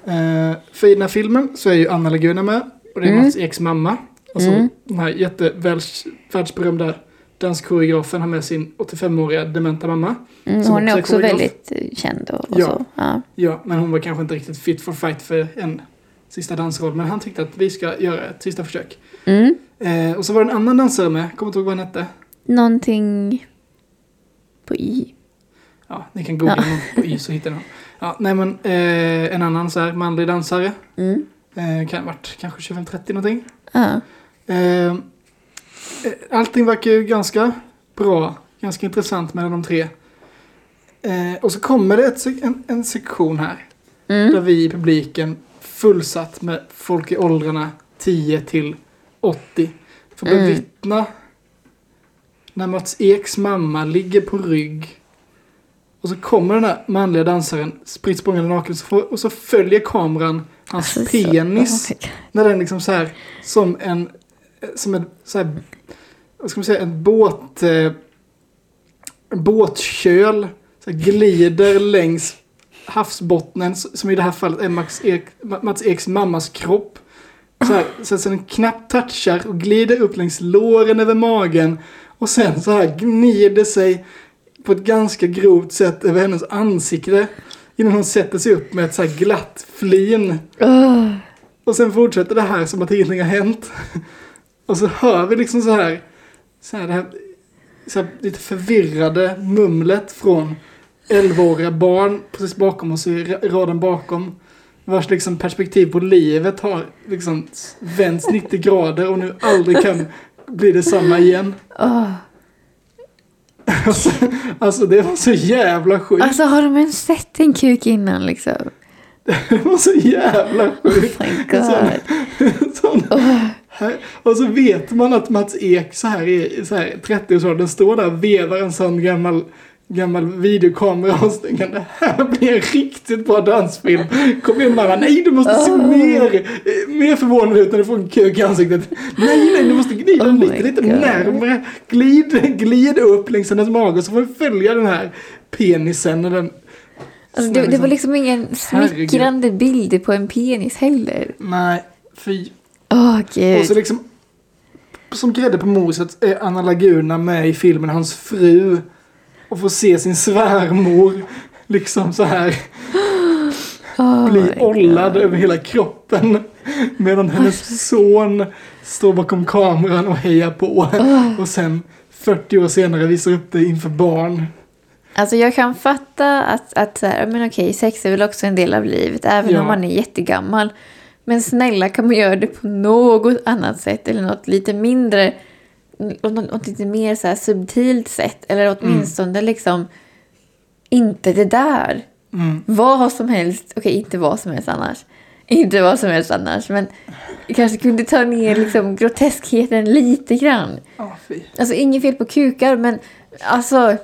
Speaker 2: Eh, för i den här filmen så är ju Anna Laguna med. Och det är
Speaker 1: Mm.
Speaker 2: Mats Eks mamma. Alltså
Speaker 1: Mm.
Speaker 2: den här jättevärldsberömda danskoreografen har med sin 85-åriga dementa mamma.
Speaker 1: Mm,
Speaker 2: som
Speaker 1: hon
Speaker 2: också
Speaker 1: är
Speaker 2: är
Speaker 1: också
Speaker 2: koreograf.
Speaker 1: väldigt eh, känd och, och
Speaker 2: Ja.
Speaker 1: så. Ja.
Speaker 2: Ja, men hon var kanske inte riktigt fit for fight för en sista dansroll. Men han tyckte att vi ska göra ett sista försök.
Speaker 1: Mm.
Speaker 2: Eh, och så var det en annan dansare med. Kommer inte ihåg vad han hette.
Speaker 1: Någonting på i.
Speaker 2: Ja, ni kan googla
Speaker 1: Ja.
Speaker 2: honom på Y så hittar ni honom. Ja, nej men eh, en annan så här manlig dansare.
Speaker 1: Mm.
Speaker 2: Eh, kan ha varit kanske 25-30 någonting.
Speaker 1: Ja.
Speaker 2: Eh, eh, allting verkar ju ganska bra, ganska intressant mellan de tre. Eh, och så kommer det ett, se- en, en sektion här där
Speaker 1: Mm.
Speaker 2: vi i publiken fullsatt med folk i åldrarna 10 till 80 får
Speaker 1: Mm.
Speaker 2: bevittna när Mats Eks mamma ligger på rygg och så kommer den här manliga dansaren spritt språngande naken så får- och så följer kameran hans
Speaker 1: Alltså, så-
Speaker 2: penis
Speaker 1: Oh my God.
Speaker 2: när den liksom så här som en som en så här, vad ska man säga, en båt, eh, en båtköl så här, glider längs havsbottnen s- som i det här fallet är Max Ek, Ma- Mats Eks mammas kropp. Så, här, så, så den knappt touchar och glider upp längs låren över magen och sen så här gnider sig på ett ganska grovt sätt över hennes ansikte innan hon sätter sig upp med ett så här glatt flin
Speaker 1: Ugh.
Speaker 2: och sen fortsätter det här som att ingenting har hänt. Och så hör vi liksom så här, så här, det här, så här lite förvirrade mumlet från 11-åriga barn precis bakom oss i ra- raden bakom. Vars liksom perspektiv på livet har liksom vänts 90 grader och nu aldrig kan bli detsamma igen.
Speaker 1: Åh.
Speaker 2: Alltså, alltså det var så jävla sjukt.
Speaker 1: Alltså har de ens sett en kuk innan liksom?
Speaker 2: Det var så jävla
Speaker 1: Oh
Speaker 2: sjukt.
Speaker 1: my
Speaker 2: Alltså,
Speaker 1: god.
Speaker 2: Sån, här, och så vet man att Mats Ek så här i så här 30-årsåldern står där och vevar en sån gammal, gammal videokamera och så tänker han, det här blir en riktigt bra dansfilm. Kom igen mamma, nej du måste se
Speaker 1: Oh
Speaker 2: mer, eh, mer förvånad ut när du får en kuk i ansiktet. Nej, nej, du måste glida
Speaker 1: Oh my
Speaker 2: lite, lite
Speaker 1: God.
Speaker 2: närmre. Glid, glid upp längs hennes mage och så får vi följa den här penisen. Och den,
Speaker 1: Alltså, det, det var liksom ingen
Speaker 2: Herregud.
Speaker 1: smickrande bild på en penis heller.
Speaker 2: Nej, fy
Speaker 1: Åh
Speaker 2: Och så
Speaker 1: gud.
Speaker 2: liksom, som grädde på moset är Anna Laguna med i filmen Hans fru. Och får se sin svärmor liksom så här
Speaker 1: Oh
Speaker 2: bli
Speaker 1: my God.
Speaker 2: ollad över hela kroppen. Medan hennes son står bakom kameran och hejar på.
Speaker 1: Oh.
Speaker 2: Och sen 40 år senare visar upp det inför barn.
Speaker 1: Alltså jag kan fatta att, att så här, men okej, sex är väl också en del av livet, även
Speaker 2: Ja.
Speaker 1: om man är jättegammal. Men snälla kan man göra det på något annat sätt eller något lite mindre, och något, något lite mer så här subtilt sätt.
Speaker 2: Mm.
Speaker 1: Eller åtminstone liksom, inte det där.
Speaker 2: Mm.
Speaker 1: Vad som helst, okej inte vad som helst annars. Inte vad som helst annars, men kanske kunde ta ner liksom groteskheten lite grann.
Speaker 2: Ja, fy.
Speaker 1: Alltså inget fel på kukar, men alltså...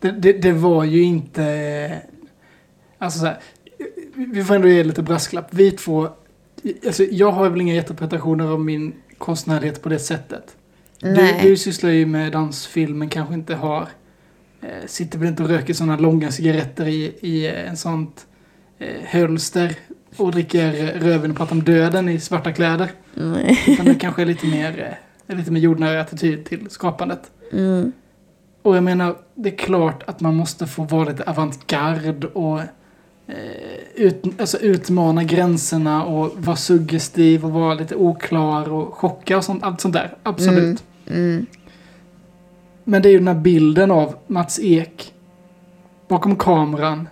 Speaker 2: Det, det, det var ju inte... Alltså så här, vi får ändå ge lite brasklapp. Vi två... Alltså jag har väl inga jättepretensioner av min konstnärlighet på det sättet. Du,
Speaker 1: Nej.
Speaker 2: du sysslar ju med dansfilm men kanske inte har... Eh, sitter väl inte och röker sådana långa cigaretter i, i eh, en sånt eh, hölster och dricker eh, rödvin och pratar om döden i svarta kläder.
Speaker 1: Nej.
Speaker 2: Utan det kanske är lite mer, eh, lite mer jordnära attityd till skapandet.
Speaker 1: Mm.
Speaker 2: Och jag menar, det är klart att man måste få vara lite avantgard och eh, ut, alltså utmana gränserna och vara suggestiv och vara lite oklar och chocka och sånt, allt sånt där. Absolut.
Speaker 1: Mm.
Speaker 2: Men det är ju den här bilden av Mats Ek bakom kameran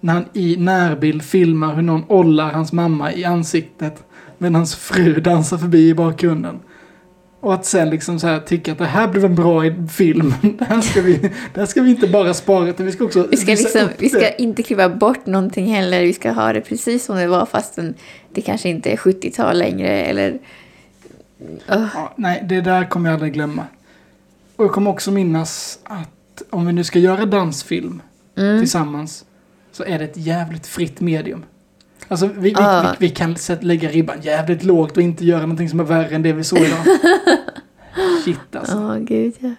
Speaker 2: när han i närbild filmar hur någon ollar hans mamma i ansiktet medan hans fru dansar förbi i bakgrunden. Och att sen liksom så här tycka att det här blev en bra i- film. Det här ska vi, det här ska vi inte bara spara utan vi ska också
Speaker 1: Vi ska,
Speaker 2: visa
Speaker 1: liksom,
Speaker 2: upp
Speaker 1: vi ska
Speaker 2: det.
Speaker 1: inte kliva bort någonting heller. Vi ska ha det precis som det var fastän det kanske inte är 70-tal längre. Eller...
Speaker 2: Ja, nej, det där kommer jag aldrig glömma. Och jag kommer också minnas att om vi nu ska göra dansfilm
Speaker 1: Mm.
Speaker 2: tillsammans så är det ett jävligt fritt medium. Alltså vi, vi,
Speaker 1: Ja.
Speaker 2: vi, vi kan sätt, lägga ribban jävligt lågt och inte göra någonting som är värre än det vi såg idag. Shit
Speaker 1: Ja,
Speaker 2: alltså.
Speaker 1: gud ja.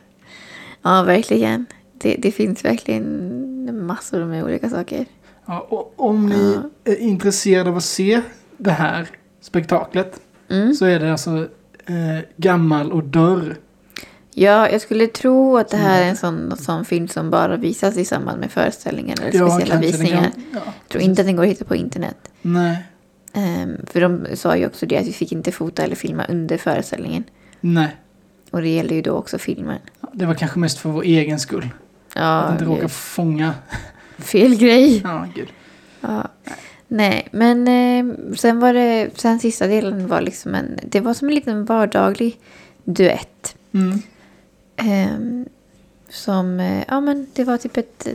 Speaker 1: Ja, verkligen. Det, det finns verkligen massor med olika saker.
Speaker 2: Ja, och om ni är intresserade av att se det här spektaklet
Speaker 1: Mm.
Speaker 2: så är det alltså eh, Gammal och dörr.
Speaker 1: Ja, jag skulle tro att det här
Speaker 2: Mm.
Speaker 1: är en sån, sån film som bara visas i samband med föreställningar eller
Speaker 2: Ja,
Speaker 1: speciella
Speaker 2: kanske den
Speaker 1: visningar.
Speaker 2: gam- ja.
Speaker 1: Jag tror inte att den går att hitta på internet.
Speaker 2: Nej,
Speaker 1: Ehm, för de sa ju också det att vi fick inte fota eller filma under föreställningen.
Speaker 2: nej.
Speaker 1: Och det gäller ju då också filmen.
Speaker 2: Ja, Det var kanske mest för vår egen skull. att
Speaker 1: Ja,
Speaker 2: inte råka
Speaker 1: gud.
Speaker 2: fånga.
Speaker 1: fel grej.
Speaker 2: Ja, gud.
Speaker 1: Ja. Nej, men eh, sen var det, sen sista delen var liksom en, det var som en liten vardaglig duett.
Speaker 2: Mm.
Speaker 1: Ehm, som, eh, ja men det var typ ett,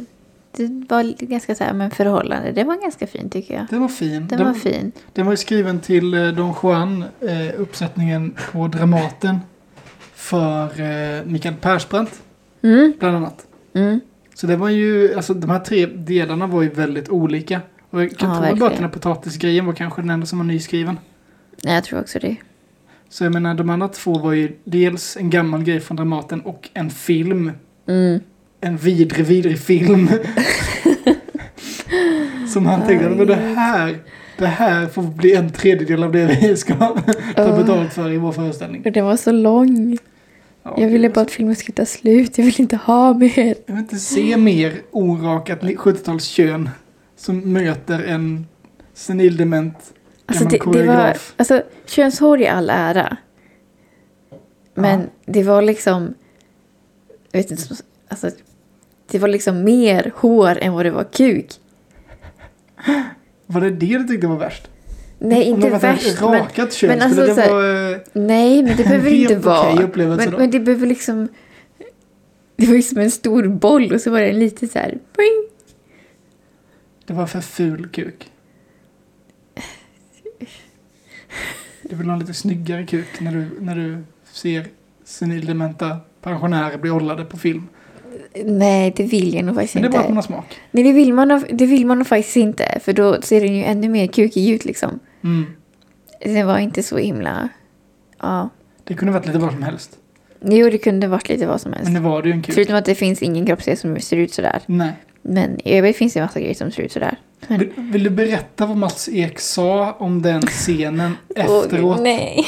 Speaker 1: det var lite ganska så här, men förhållande. Det var ganska fint tycker jag.
Speaker 2: Den var fin.
Speaker 1: Den var fin.
Speaker 2: Den var ju skriven till eh, Don Juan, eh, uppsättningen på Dramaten för eh, Mikael Persbrandt
Speaker 1: Mm,
Speaker 2: bland annat.
Speaker 1: mm,
Speaker 2: Så det var ju, alltså de här tre delarna var ju väldigt olika. Och jag kan
Speaker 1: Ja,
Speaker 2: tro att bara att
Speaker 1: verkligen.
Speaker 2: den här potatisgrejen var kanske den enda som var nyskriven.
Speaker 1: nej jag tror också det.
Speaker 2: Så jag menar, de andra två var ju dels en gammal grej från Dramaten och en film.
Speaker 1: Mm.
Speaker 2: En vidrig, vidrig film. Som han tänkte, men det här, det här får bli en tredjedel av det vi ska ta
Speaker 3: Ja.
Speaker 2: betalt för i vår föreställning.
Speaker 3: Och den var så lång.
Speaker 2: Ja,
Speaker 3: Jag ville bara att filmen skulle ta slut. Jag ville inte ha mer.
Speaker 2: Jag vill inte se mer orakat 70-talskön som möter en senildement
Speaker 1: Alltså,
Speaker 2: gammal
Speaker 1: det, det var,
Speaker 2: koreograf.
Speaker 1: alltså, könshår i all ära. Men det var liksom... Jag vet inte, alltså, det var liksom mer hår än vad det var kuk.
Speaker 2: Var... det det du tyckte var värst?
Speaker 1: Nej,
Speaker 2: Om
Speaker 1: inte
Speaker 2: det var ett
Speaker 1: värst. Men,
Speaker 2: Rakat kön,
Speaker 1: men
Speaker 2: skulle
Speaker 1: alltså
Speaker 2: det
Speaker 1: så
Speaker 2: vara... eh,
Speaker 1: nej, men det behöver
Speaker 2: Helt
Speaker 1: inte
Speaker 2: okej
Speaker 1: vara.
Speaker 2: upplevelse
Speaker 1: Men,
Speaker 2: då.
Speaker 1: men det behöver liksom... Det var ju som en stor boll och så var det en liten så här... Boing.
Speaker 2: Det var för ful kuk. Du vill ha en lite snyggare kuk när du, när du ser senildementa pensionärer bli ollade på film.
Speaker 1: Nej, det vill jag nog faktiskt
Speaker 2: Men det är
Speaker 1: inte.
Speaker 2: bara att man har smak.
Speaker 1: Nej, det vill, man, nog- det vill man nog faktiskt inte. För då ser den ju ännu mer kukig ut liksom.
Speaker 2: Mm.
Speaker 1: Det var inte så himla... Ja.
Speaker 2: Det kunde varit lite vad som helst.
Speaker 1: Jo, det kunde varit lite vad som helst.
Speaker 2: Men det var det ju en kuk.
Speaker 1: Förutom att det finns ingen kroppsdel som ser ut sådär.
Speaker 2: Nej.
Speaker 1: Men i övrigt finns det en massa grejer som ser ut sådär. Men-
Speaker 2: Vill, vill du berätta vad Mats Ek sa om den scenen efteråt?
Speaker 1: Åh, nej.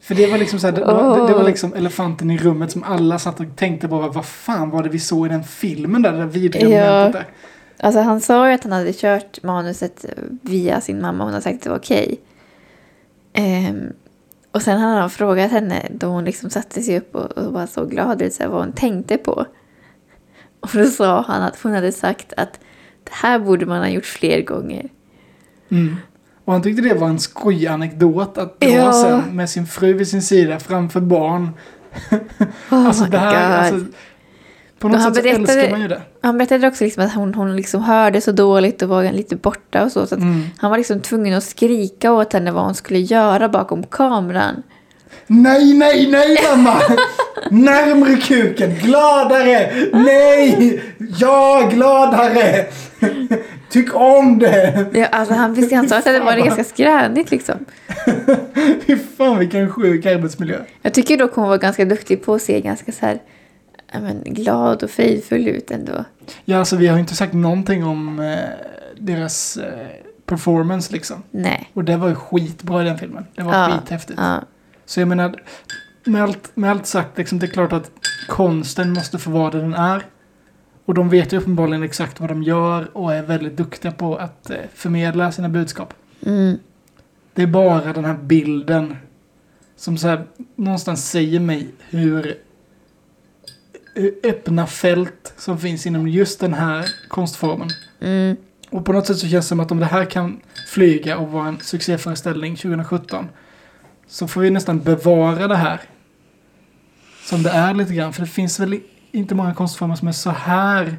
Speaker 2: För det var liksom så här, det, var- det, det var
Speaker 1: Åh.
Speaker 2: liksom elefanten i rummet som alla satt och tänkte bara vad fan var det vi såg i den filmen där, det där vidriga
Speaker 1: Ja.
Speaker 2: momentet där.
Speaker 1: Alltså han sa ju att han hade kört manuset via sin mamma. Hon har sagt att det var okej. Ehm, och sen hade han frågat henne då hon liksom satte sig upp och, och var så glad ut. Så här, vad hon tänkte på. Och då sa han att hon hade sagt att det här borde man ha gjort fler gånger.
Speaker 2: Mm. Och han tyckte det var en skojanekdot att dra
Speaker 1: Ja.
Speaker 2: sen med sin fru vid sin sida framför barn.
Speaker 1: Oh
Speaker 2: alltså
Speaker 1: my
Speaker 2: det här,
Speaker 1: God.
Speaker 2: alltså, på något
Speaker 1: Men han
Speaker 2: sätt så
Speaker 1: berättade-
Speaker 2: älskar man ju det.
Speaker 1: Han berättade också liksom att hon, hon liksom hörde så dåligt och var lite borta och så. så att
Speaker 2: Mm.
Speaker 1: Han var liksom tvungen att skrika åt henne vad hon skulle göra bakom kameran.
Speaker 2: Nej, nej, nej mamma! Närmre kuken, gladare! Nej! Ja, gladare! Tyck om det!
Speaker 1: Ja, alltså han, visst, han sa att det var ganska skränigt liksom.
Speaker 2: Fy fan vilken sjuk arbetsmiljö.
Speaker 1: Jag tycker dock hon var ganska duktig på att se ganska så här ja, men, glad och fridfull ut ändå.
Speaker 2: Ja, alltså vi har ju inte sagt någonting om eh, deras eh, performance liksom.
Speaker 1: Nej.
Speaker 2: Och det var ju skitbra i den filmen. Det var
Speaker 1: Ja,
Speaker 2: skithäftigt.
Speaker 1: Ja.
Speaker 2: Så jag menar, med allt, med allt sagt, liksom, det är klart att konsten måste få vara det den är. Och de vet ju uppenbarligen exakt vad de gör och är väldigt duktiga på att eh, förmedla sina budskap.
Speaker 1: Mm.
Speaker 2: Det är bara den här bilden som så här, någonstans säger mig hur hur öppna fält som finns inom just den här konstformen.
Speaker 1: Mm.
Speaker 2: Och på något sätt så känns det som att om det här kan flyga och vara en succéföreställning 2017 så får vi nästan bevara det här som det är lite grann. För det finns väl i- inte många konstformer som är så här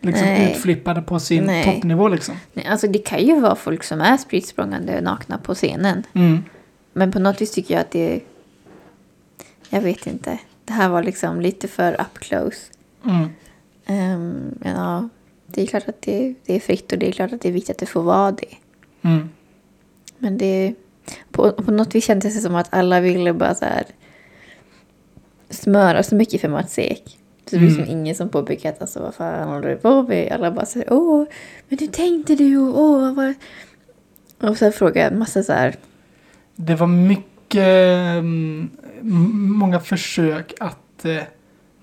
Speaker 2: liksom
Speaker 1: Nej.
Speaker 2: utflippade på sin
Speaker 1: Nej.
Speaker 2: toppnivå liksom.
Speaker 1: Nej, alltså det kan ju vara folk som är spritt språngande nakna på scenen.
Speaker 2: Mm.
Speaker 1: Men på något vis tycker jag att det... Jag vet inte. Det här var liksom lite för up close.
Speaker 2: Mm.
Speaker 1: Ehm, men ja, det är klart att det, det är fritt och det är klart att det är viktigt att det får vara det.
Speaker 2: Mm.
Speaker 1: Men det... På, på något vis kändes det som att alla ville bara så här smöra så mycket för Mats Ek. Så det var
Speaker 2: Mm.
Speaker 1: liksom ingen som påpekade att alltså, vad fan håller du på med? Alla bara så här, åh, men hur tänkte du? Och, åh, vad... Och sen frågade jag en massa så här,
Speaker 2: Det var mycket, mm, m- många försök att eh,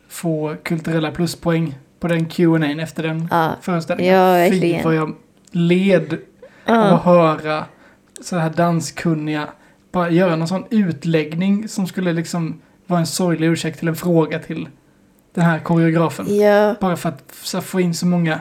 Speaker 2: få kulturella pluspoäng på den Q&A efter den
Speaker 1: ja,
Speaker 2: föreställningen.
Speaker 1: Ja,
Speaker 2: Fy
Speaker 1: verkligen.
Speaker 2: vad jag led av att
Speaker 1: ja,
Speaker 2: höra så här danskunniga bara göra någon sån utläggning som skulle liksom vara en sorglig ursäkt till en fråga till den här koreografen.
Speaker 1: ja,
Speaker 2: Bara för att så här, få in så många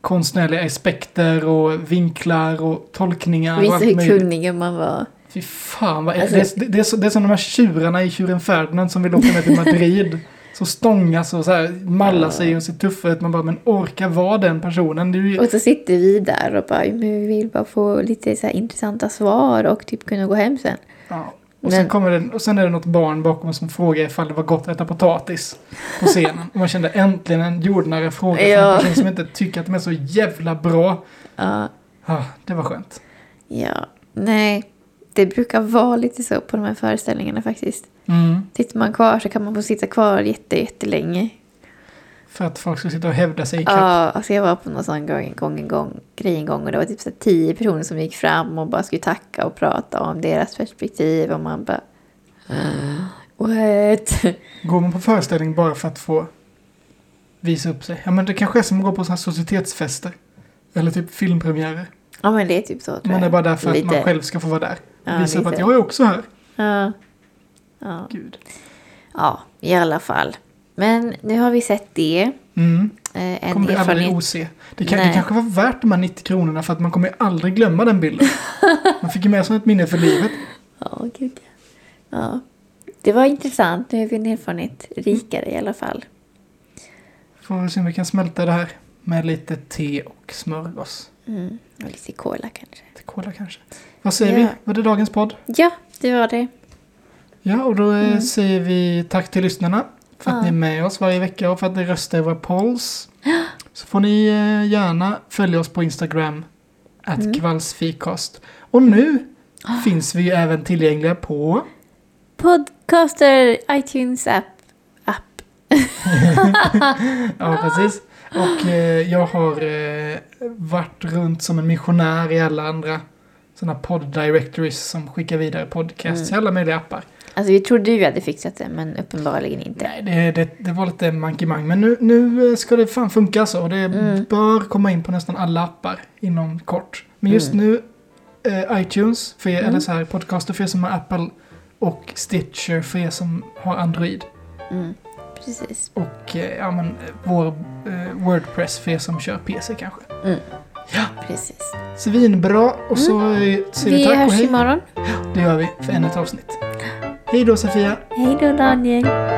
Speaker 2: konstnärliga aspekter och vinklar och tolkningar och
Speaker 1: visa
Speaker 2: allt
Speaker 1: hur
Speaker 2: möjligt.
Speaker 1: kunniga man var.
Speaker 2: Fy fan vad
Speaker 1: Alltså-
Speaker 2: det, är, det, är så, det är som de här tjurarna i Tjuren Ferdinand som vill åka ner till Madrid. Som stångas och så här mallar sig och ser tuffa ut. Man bara, men orka vara den personen. Det är ju,
Speaker 1: Och så sitter vi där och bara, men vi vill bara få lite så här intressanta svar och typ kunna gå hem sen.
Speaker 2: ja. och, sen
Speaker 1: men-
Speaker 2: kommer det, och sen är det något barn bakom som frågar ifall det var gott att äta potatis på scenen. Och man kände äntligen en jordnära fråga från
Speaker 1: Ja.
Speaker 2: en person som inte tycker att de är så jävla bra.
Speaker 1: Ja,
Speaker 2: Ah, det var skönt.
Speaker 1: ja, nej. Det brukar vara lite så på de här föreställningarna faktiskt.
Speaker 2: Mm.
Speaker 1: Sitter man kvar så kan man få sitta kvar jätte, jättelänge.
Speaker 2: För att folk ska sitta och hävda sig i
Speaker 1: Ja,
Speaker 2: kapp.
Speaker 1: alltså jag var på någon sån gång, gång, en gång, grej en gång och det var typ så här tio personer som gick fram och bara skulle tacka och prata om deras perspektiv och man bara... "Ah, What?
Speaker 2: Går man på föreställning bara för att få visa upp sig? Ja men det kanske är som att gå på sådana här societetsfester. Eller typ filmpremiärer.
Speaker 1: Ja men det är typ så tror
Speaker 2: Man är
Speaker 1: jag.
Speaker 2: bara där för att man
Speaker 1: Lite.
Speaker 2: själv ska få vara där.
Speaker 1: Ja,
Speaker 2: visa upp
Speaker 1: lite.
Speaker 2: att jag är också här.
Speaker 1: Ja. Ja.
Speaker 2: Gud.
Speaker 1: ja, i alla fall. Men nu har vi sett det.
Speaker 2: Mm.
Speaker 1: Eh, en
Speaker 2: Kommer det aldrig
Speaker 1: erfarenhet.
Speaker 2: OC. Det, kan, det
Speaker 1: Nej.
Speaker 2: kanske var värt de här 90 kronorna för att man kommer ju aldrig glömma den bilden. Man fick ju med sig ett minne för livet.
Speaker 1: Ja, gud ja. ja. Det var intressant. Nu är vi en erfarenhet rikare i alla fall.
Speaker 2: Får vi se om vi kan smälta det här med lite te och smörgås.
Speaker 1: Mm. Och lite cola kanske.
Speaker 2: Lite cola kanske. Vad säger
Speaker 1: Ja.
Speaker 2: vi? Var det dagens podd?
Speaker 1: Ja, det var det.
Speaker 2: Ja, och då eh, säger vi tack till lyssnarna för att
Speaker 1: Mm. Ja.
Speaker 2: ni är med oss varje vecka och för att ni röstar i våra polls. Så får ni eh, gärna följa oss på Instagram, att
Speaker 1: Mm.
Speaker 2: kvalsfikast. Och nu finns vi ju även tillgängliga på...
Speaker 1: Podcaster, iTunes app. app.
Speaker 2: Ja, precis. Och eh, jag har eh, varit runt som en missionär i alla andra sådana podd-directories som skickar vidare podcasts i alla möjliga appar.
Speaker 1: Alltså vi trodde ju vi hade fixat det, men uppenbarligen inte.
Speaker 2: Nej, det, det, det var lite mankemang. Men nu, nu eh, ska det fan funka så. Och det bör komma in på nästan alla appar inom kort. Men just nu, eh, iTunes för er, eller så här, podcaster för er som har Apple. Och Stitcher för er som har Android.
Speaker 1: Mm. Precis.
Speaker 2: Och eh, ja, men, eh, vår eh, Wordpress för er som kör PC kanske.
Speaker 1: Precis.
Speaker 2: Svinbra! Och så eh, säger vi
Speaker 1: Vi
Speaker 2: tack och
Speaker 1: hörs
Speaker 2: hej.
Speaker 1: imorgon.
Speaker 2: Det gör vi för ännu ett avsnitt. Hej då Sofia!
Speaker 1: Hej då Daniel.